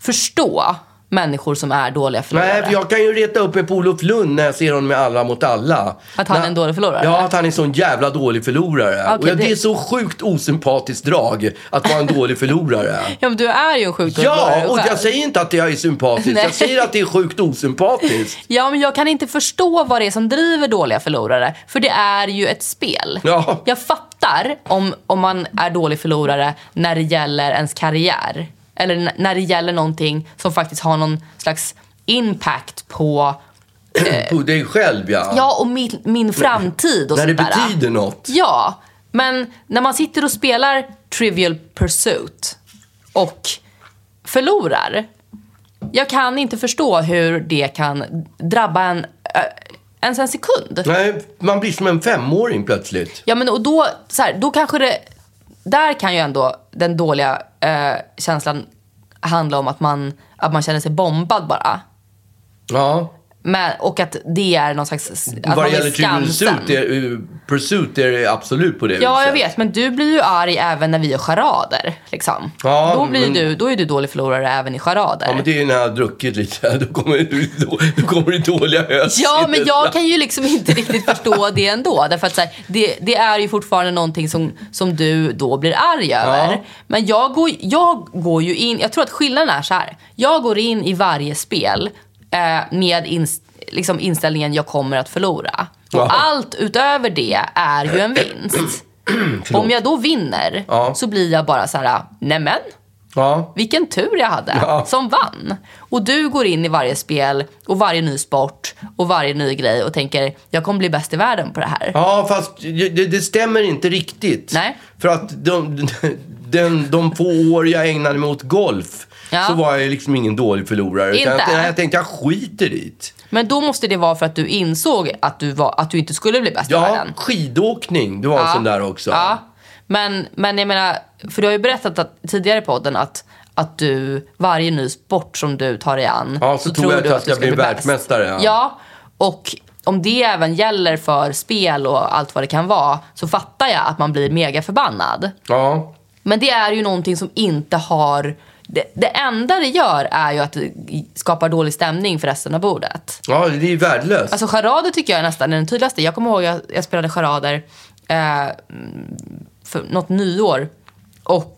S2: förstå människor som är dåliga förlorare.
S1: Nej, för jag kan ju reta upp mig på Olof Lund när jag ser honom med alla mot alla.
S2: Att han är
S1: När-
S2: en dålig förlorare?
S1: Ja, att han är en sån jävla dålig förlorare. och jag, det...
S2: det-
S1: är så sjukt osympatiskt drag att vara en dålig
S2: [LAUGHS]
S1: förlorare.
S2: Ja, men du är ju en sjukt dålig
S1: Ja,
S2: förlorare
S1: och
S2: själv.
S1: jag säger inte att jag är sympatisk.
S2: [LAUGHS] Nej.
S1: Jag säger att det är sjukt
S2: [LAUGHS]
S1: osympatiskt.
S2: Ja, men jag kan inte förstå vad det är som driver dåliga förlorare. För det är ju ett spel.
S1: Ja.
S2: Jag fattar om, om man är dålig förlorare när det gäller ens karriär. Eller n- när det gäller någonting som faktiskt har någon slags impact på
S1: På dig själv, ja.
S2: Eh. ja, och min, min framtid och
S1: när det
S2: sånt där.
S1: betyder något.
S2: Ja, men när man sitter och spelar Trivial Pursuit och förlorar. Jag kan inte förstå hur det kan drabba en äh, ens en sekund.
S1: Nej, man blir som en femåring plötsligt.
S2: Ja, men och då, så här, då kanske det... Där kan ju ändå den dåliga eh, känslan handla om att man, att man känner sig bombad bara.
S1: Ja.
S2: Men, och att det är någon slags... Att
S1: Vad
S2: man
S1: det gäller
S2: är
S1: Trivial
S2: skamsen.
S1: Pursuit är, uh, Pursuit är det absolut på det
S2: Ja,
S1: viset.
S2: jag vet. Men du blir ju arg även när vi gör charader. Liksom.
S1: Ja,
S2: då, blir
S1: men-
S2: du, då är du dålig förlorare även i charader.
S1: Ja, men det är ju när jag har druckit lite. [LAUGHS] Då kommer du, då, då kommer du dåliga ös.
S2: Ja, men jag kan ju liksom inte riktigt förstå det ändå. Därför att så här, det, det är ju fortfarande någonting som, som du då blir arg över. Men jag går, jag går ju in, jag tror att skillnaden är så här. Jag går in i varje spel eh, med ins- liksom inställningen jag kommer att förlora. Och
S1: Ja.
S2: allt utöver det är ju en vinst.
S1: [CLEARS THROAT]
S2: Om jag då vinner
S1: Ja.
S2: så blir jag bara så här, nämen.
S1: Ja.
S2: Vilken tur jag hade
S1: Ja.
S2: som vann. Och du går in i varje spel och varje ny sport och varje ny grej och tänker jag kommer bli bäst i världen på det här.
S1: ja, fast det, det stämmer inte riktigt.
S2: Nej.
S1: För att de, [LAUGHS] den, de få år jag ägnade mig åt golf
S2: Ja.
S1: så var jag liksom ingen dålig förlorare. Utan
S2: Inte?
S1: Jag, jag tänkte jag skiter i det.
S2: Men då måste det vara för att du insåg att du, var, att du inte skulle bli bäst i
S1: Ja,
S2: världen.
S1: skidåkning. Det var en sån där också.
S2: Ja. Men, men jag menar, för du har ju berättat att, tidigare i podden att, att du, varje ny sport som du tar dig an
S1: Ja, så tror jag
S2: du
S1: att
S2: du
S1: jag
S2: ska
S1: blir
S2: bli bäst.
S1: världsmästare, ja.
S2: ja, och om det även gäller för spel och allt vad det kan vara så fattar jag att man blir mega förbannad.
S1: Ja.
S2: Men det är ju någonting som inte har Det, det enda det gör är ju att det skapar dålig stämning för resten av bordet.
S1: Ja, det är ju värdelöst.
S2: Alltså charader tycker jag är nästan den tydligaste. Jag kommer ihåg jag, jag spelade charader eh, för något nyår. Och,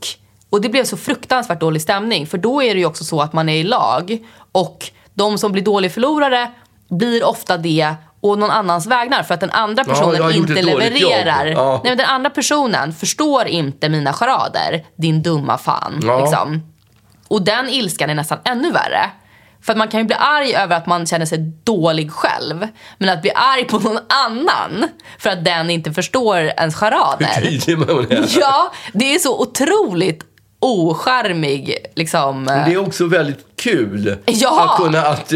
S2: och det blev så fruktansvärt dålig stämning. För då är det ju också så att man är i lag. Och de som blir dålig förlorare blir ofta det och någon annans vägnar för att den andra personen
S1: jag har gjort
S2: inte
S1: ett dåligt
S2: levererar.
S1: jobb. Ja.
S2: Nej, men den andra personen förstår inte mina charader, din dumma fan.
S1: Ja.
S2: Liksom. Och den ilskan är nästan ännu värre. För att man kan ju bli arg över att man känner sig dålig själv. Men att bli arg på någon annan för att den inte förstår
S1: [LAUGHS]
S2: ens charader.
S1: Tydlig med hon är.
S2: [LAUGHS] Ja, det är så otroligt ocharmig liksom.
S1: Det är också väldigt kul
S2: Ja!
S1: att kunna att,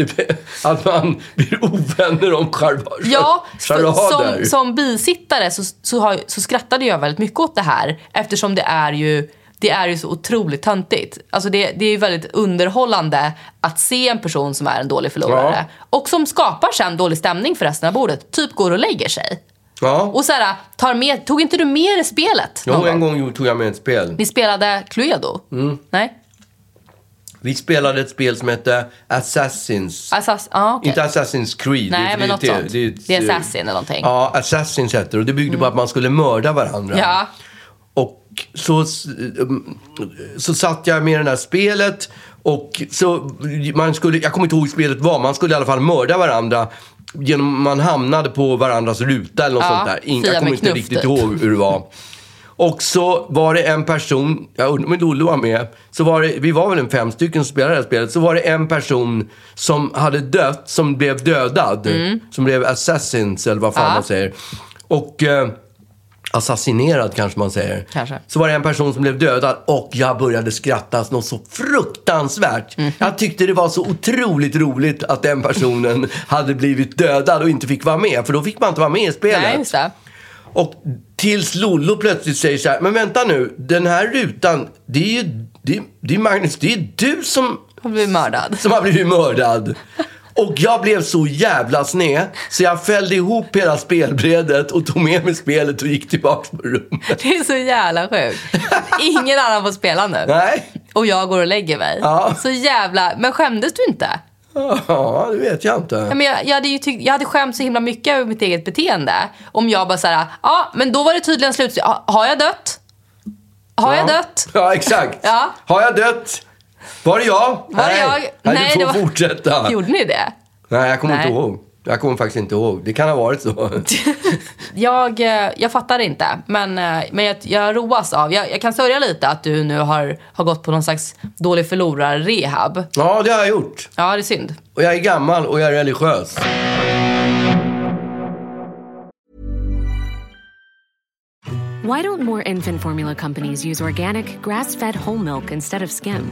S1: att man blir ovänner om charva- [LAUGHS]
S2: Ja, så,
S1: charader.
S2: som, som bisittare så, så, har, så skrattade jag väldigt mycket åt det här eftersom det är ju, det är ju så otroligt töntigt. Alltså det, det är ju väldigt underhållande att se en person som är en dålig förlorare och som skapar sen dålig stämning för resten av bordet. Typ går och lägger sig.
S1: Ja.
S2: Och så här, tar med, tog inte du med dig spelet? någon
S1: Jo, en
S2: gång?
S1: gång Mm. gjorde- tog jag med ett spel.
S2: Ni spelade Cluedo? Nej?
S1: Vi spelade ett spel som hette Assassins.
S2: Alltså, ah, okej.
S1: Inte Assassin's Creed.
S2: Nej,
S1: det är-
S2: men något
S1: det,
S2: sånt.
S1: Det,
S2: Det är Assassin eller någonting. Mm.
S1: Ja, Assassins hette det. Och det byggde på att man skulle mörda varandra.
S2: Ja.
S1: Och så, mm, så satt jag med det här spelet och så, man skulle, jag kommer inte ihåg hur spelet var, man skulle i alla fall mörda varandra. Genom, man hamnade på varandras ruta eller något
S2: Ja,
S1: sånt där. In,
S2: fia
S1: jag kommer
S2: med
S1: inte
S2: knuff,
S1: riktigt
S2: typ.
S1: ihåg hur det var. Och så var det en person, jag undrar om inte Olle var med, så var det, vi var väl en fem stycken som spelade det här spelet, så var det en person som hade dött, som blev dödad. Som blev assassins eller vad fan
S2: Mm. Ja.
S1: man säger. Och eh, assassinerad kanske man säger.
S2: Kanske.
S1: Så var det en person som blev dödad och jag började skratta något så fruktansvärt.
S2: Mhm.
S1: Jag tyckte det var så otroligt roligt att den personen [LAUGHS] hade blivit dödad och inte fick vara med. För då fick man inte vara med i spelet.
S2: Nej, just det.
S1: Och tills Lollo plötsligt säger så här, men vänta nu, den här rutan, det är ju det, är- det är Magnus, det är du som,
S2: Hon blev mördad. [LAUGHS]
S1: som har blivit mördad. Och jag blev så jävla sned så jag fällde ihop hela spelbrädet och tog med mig spelet och gick tillbaka på rummet.
S2: Det är så jävla sjukt. Ingen annan får spela nu.
S1: Nej,
S2: Och jag går och lägger mig.
S1: Ja.
S2: Så jävla... Men skämdes du inte?
S1: ja, det vet jag inte.
S2: Nej, Men jag, jag, hade ju tyckt, jag hade skämt så himla mycket över mitt eget beteende. Om jag bara såhär, ja men då var det tydligen slut. Ja, Har jag dött? Har jag dött?
S1: Ja, exakt.
S2: Ja.
S1: Har jag dött? Var det jag?
S2: Var det jag?
S1: Nej, Nej, du får fortsätta.
S2: Gjorde ni det?
S1: Nej, jag kommer
S2: Nej.
S1: inte ihåg. Jag kommer faktiskt inte ihåg. Det kan ha varit
S2: [LAUGHS]
S1: så.
S2: Jag, eh, jag fattar inte, men, eh, men jag, jag roas av... Jag, jag kan sörja lite att du nu har, har gått på någon slags dålig förlorare-rehab.
S1: Ja, det har jag gjort.
S2: Ja, det är synd.
S1: Och jag är gammal och jag är religiös.
S6: Why don't more infant formula companies use organic, grass fed whole milk instead of skim?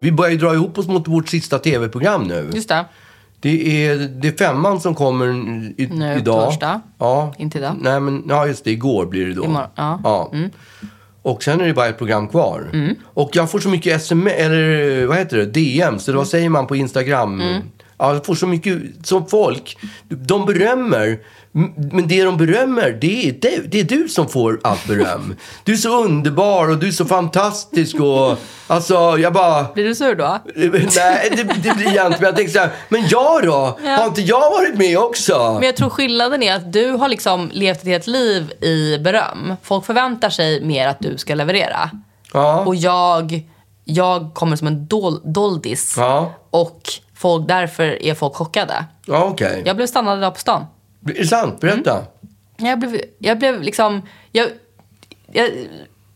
S1: Vi börjar ju dra ihop oss mot vårt sista tv-program nu.
S2: Just det.
S1: Det är, det är femman som kommer i,
S2: Nu,
S1: idag.
S2: torsdag.
S1: Ja.
S2: Inte idag.
S1: Nej, men ja, just det. Igår blir det då.
S2: Imorgon, ja. Mm.
S1: Och sen är det bara ett program kvar. Och jag får så mycket sms, eller vad heter det, DM, så
S2: Mm.
S1: vad säger man på Instagram? Ja, jag får så mycket, som folk, de berömmer, m- men det de berömmer, det är, det, det är du som får allt beröm. Du är så underbar och du är så fantastisk och alltså jag bara...
S2: Blir du sur då?
S1: [LAUGHS] Nej, det, det blir jag inte. Men jag tänker så här, men jag då? Har inte jag varit med också?
S2: Men jag tror skillnaden är att du har liksom levt ett helt liv i beröm. Folk förväntar sig mer att du ska leverera.
S1: Ja.
S2: Och jag jag kommer som en dol, doldis
S1: Ja,
S2: och folk, därför är folk chockade.
S1: ja okej.
S2: Jag blev stannad där på stan.
S1: Är det sant? Berätta.
S2: Mm. Jag blev, jag blev liksom... Jag, jag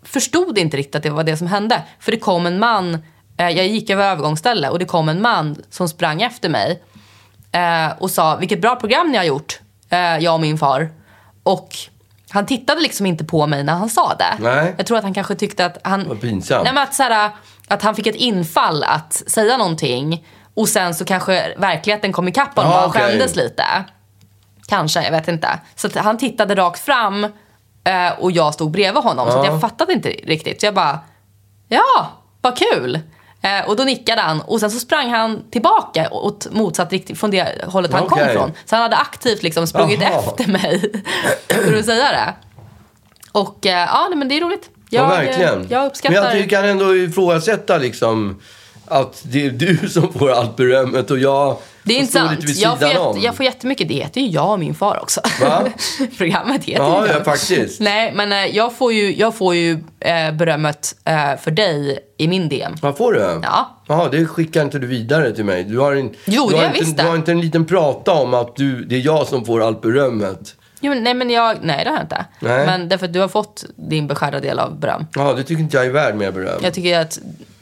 S2: förstod inte riktigt att det var det som hände. För det kom en man... Eh, jag gick över övergångsställe och det kom en man som sprang efter mig eh, och sa “Vilket bra program ni har gjort, eh, jag och min far”. Och han tittade liksom inte på mig när han sa det.
S1: Nej.
S2: Jag tror att han kanske tyckte att han...
S1: Vad pinsamt.
S2: Nej, men att, så här, att han fick ett infall att säga någonting och sen så kanske verkligheten kom ikapp honom
S1: Ja,
S2: och han
S1: okej.
S2: skämdes lite. Kanske, jag vet inte. Så att han tittade rakt fram eh, och jag stod bredvid honom. Så att jag fattade inte riktigt. Så jag bara, ja, vad kul. Eh, och då nickade han och sen så sprang han tillbaka åt motsatt riktning från det hållet han kom
S1: Okej.
S2: från. Så han hade aktivt liksom sprungit
S1: Jaha.
S2: efter mig. [CLEARS THROAT] för att säga det. Och eh, ja, nej, men det är roligt. Jag,
S1: ja,
S2: eh,
S1: verkligen.
S2: jag uppskattar...
S1: Men jag tycker- kan ändå ifrågasätta liksom att det är du [LAUGHS] som får allt berömmet och jag
S2: Det
S1: som
S2: är inte
S1: står
S2: sant.
S1: lite vid
S2: Jag får,
S1: sidan
S2: jätte,
S1: om.
S2: jag får jättemycket. Det heter ju jag och min far också.
S1: Va?
S2: [LAUGHS] Programmet heter
S1: Ja,
S2: ju
S1: ja,
S2: jag.
S1: faktiskt.
S2: Nej, men eh, jag får ju, jag får ju eh, berömmet eh, för dig i min DM.
S1: Vad får du?
S2: Ja.
S1: Jaha, det skickar inte du vidare till mig. Du har, en,
S2: Jo,
S1: du har
S2: det har jag
S1: inte,
S2: visst
S1: Du
S2: det.
S1: har inte en liten prata om att du, det är jag som får allt berömmet.
S2: Jo, men, nej, men jag, nej, det har jag inte.
S1: Nej.
S2: Men därför att du har fått din beskärda del av beröm.
S1: Ja, det tycker inte jag är värd mer beröm.
S2: Jag tycker att...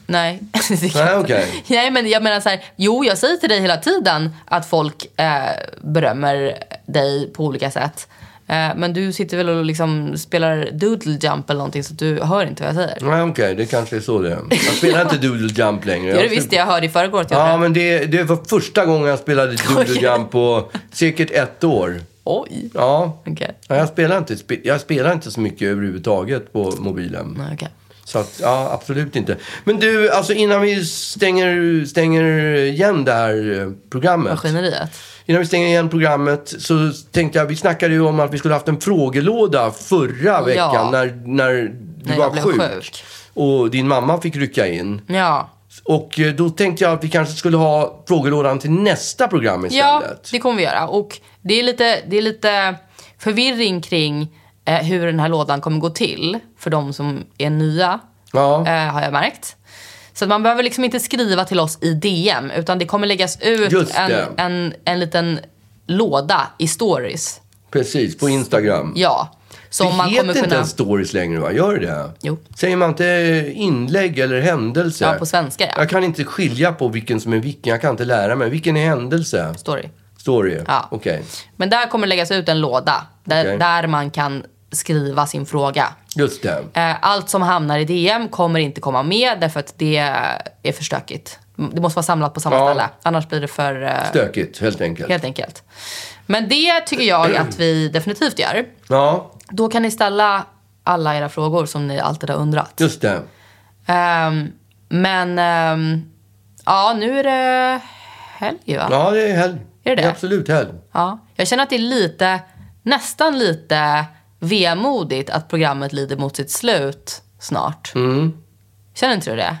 S2: Nej. [LAUGHS] det tycker
S1: Nej,
S2: jag inte.
S1: okej.
S2: Nej, men jag menar så här. Jo, jag säger till dig hela tiden att folk eh, berömmer dig på olika sätt. Eh, men du sitter väl och liksom spelar doodle jump eller någonting så att du hör inte vad jag säger.
S1: Nej, okej, det kanske är så
S2: [LAUGHS]
S1: det är. Jag spelar inte Doodle Jump längre.
S2: Gör du
S1: Jag
S2: visst det? Jag hörde i förrgår att jag
S1: Ja,
S2: gjorde det.
S1: men det, det var första gången jag spelade Doodle Jump på säkert ett år.
S2: Oj.
S1: Ja.
S2: Okej.
S1: Ja, Jag, spelar inte, spe- jag spelar inte så mycket överhuvudtaget på mobilen.
S2: Nej, okej.
S1: Så att, ja, absolut inte. Men du, alltså innan vi stänger, stänger igen det här eh, programmet.
S2: Maskineriet.
S1: Innan vi stänger igen programmet så tänkte jag, vi snackade ju om att vi skulle haft en frågelåda förra veckan när, när du
S2: När
S1: var
S2: jag blev sjuk.
S1: Och din mamma fick rycka in.
S2: Ja.
S1: Och eh, då tänkte jag att vi kanske skulle ha frågelådan till nästa program
S2: Ja,
S1: istället.
S2: det kommer vi göra. Och det är lite, det är lite förvirring kring eh, hur den här lådan kommer gå till för de som är nya,
S1: Ja.
S2: eh, har jag märkt. Så att man behöver liksom inte skriva till oss i DM, utan det kommer läggas ut
S1: Just
S2: en,
S1: det.
S2: en, en liten låda i stories.
S1: Precis, på Instagram.
S2: Ja. Som
S1: det
S2: man
S1: heter
S2: kommer
S1: inte
S2: kunna...
S1: ens stories längre va? Gör det
S2: Jo.
S1: Säger man inte eh, inlägg eller händelse?
S2: Ja, på svenska, ja.
S1: Jag kan inte skilja på vilken som är vilken. Jag kan inte lära mig. Vilken är händelse?
S2: Story.
S1: Story?
S2: Ja.
S1: Okej.
S2: Men där kommer läggas ut en låda där,
S1: Okej.
S2: där man kan skriva sin fråga.
S1: Just det.
S2: Eh, Allt som hamnar i DM kommer inte komma med därför att det är för stökigt. Det måste vara samlat på samma
S1: Ja.
S2: ställe. Annars blir det för... eh,
S1: Stökigt, helt enkelt.
S2: Helt enkelt. Men det
S1: [CLEARS THROAT]
S2: tycker jag att vi definitivt gör.
S1: Ja,
S2: Då kan ni ställa alla era frågor som ni alltid har undrat.
S1: just det.
S2: Ehm, men... ehm, ja, nu är det helg va?
S1: Ja, det är helg.
S2: Är det det?
S1: är absolut helg.
S2: Ja. Jag känner att det är lite, nästan lite vemodigt att programmet lider mot sitt slut snart.
S1: Mm.
S2: Känner inte du det?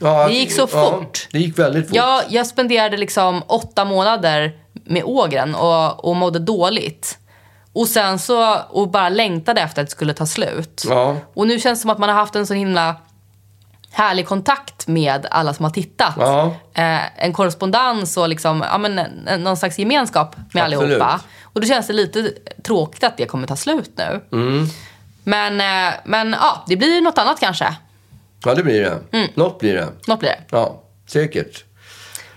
S1: Ja,
S2: Det gick så
S1: ja,
S2: fort.
S1: Det gick väldigt fort.
S2: Jag, jag spenderade liksom åtta månader med ågren och, och mådde dåligt. Och sen så, och bara längtade efter att det skulle ta slut.
S1: Ja.
S2: Och nu känns det som att man har haft en så himla härlig kontakt med alla som har tittat.
S1: Ja.
S2: Eh, en korrespondens och liksom, ja, men, en- en- någon slags gemenskap med
S1: Absolut.
S2: allihopa. Och då känns det lite tråkigt att det kommer ta slut nu.
S1: Mm.
S2: Men, eh, men ja, det blir något annat kanske.
S1: ja, det blir det. Något blir det.
S2: Något blir det.
S1: Ja, säkert.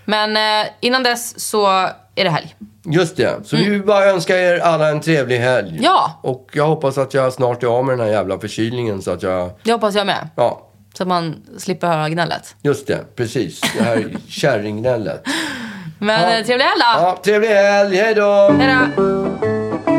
S2: Men eh, innan dess så är det helg.
S1: Just det. Så vi vill bara önska er alla en trevlig helg.
S2: Ja.
S1: Och jag hoppas att jag snart är av med den här jävla förkylningen så att jag...
S2: Det hoppas jag med.
S1: Ja,
S2: Så att man slipper höra gnället.
S1: just det. Precis. Det här kärringgnället.
S2: Men
S1: Ja.
S2: eh, trevlig helg då!
S1: Ja, trevlig helg. Hej då!
S2: Hej då!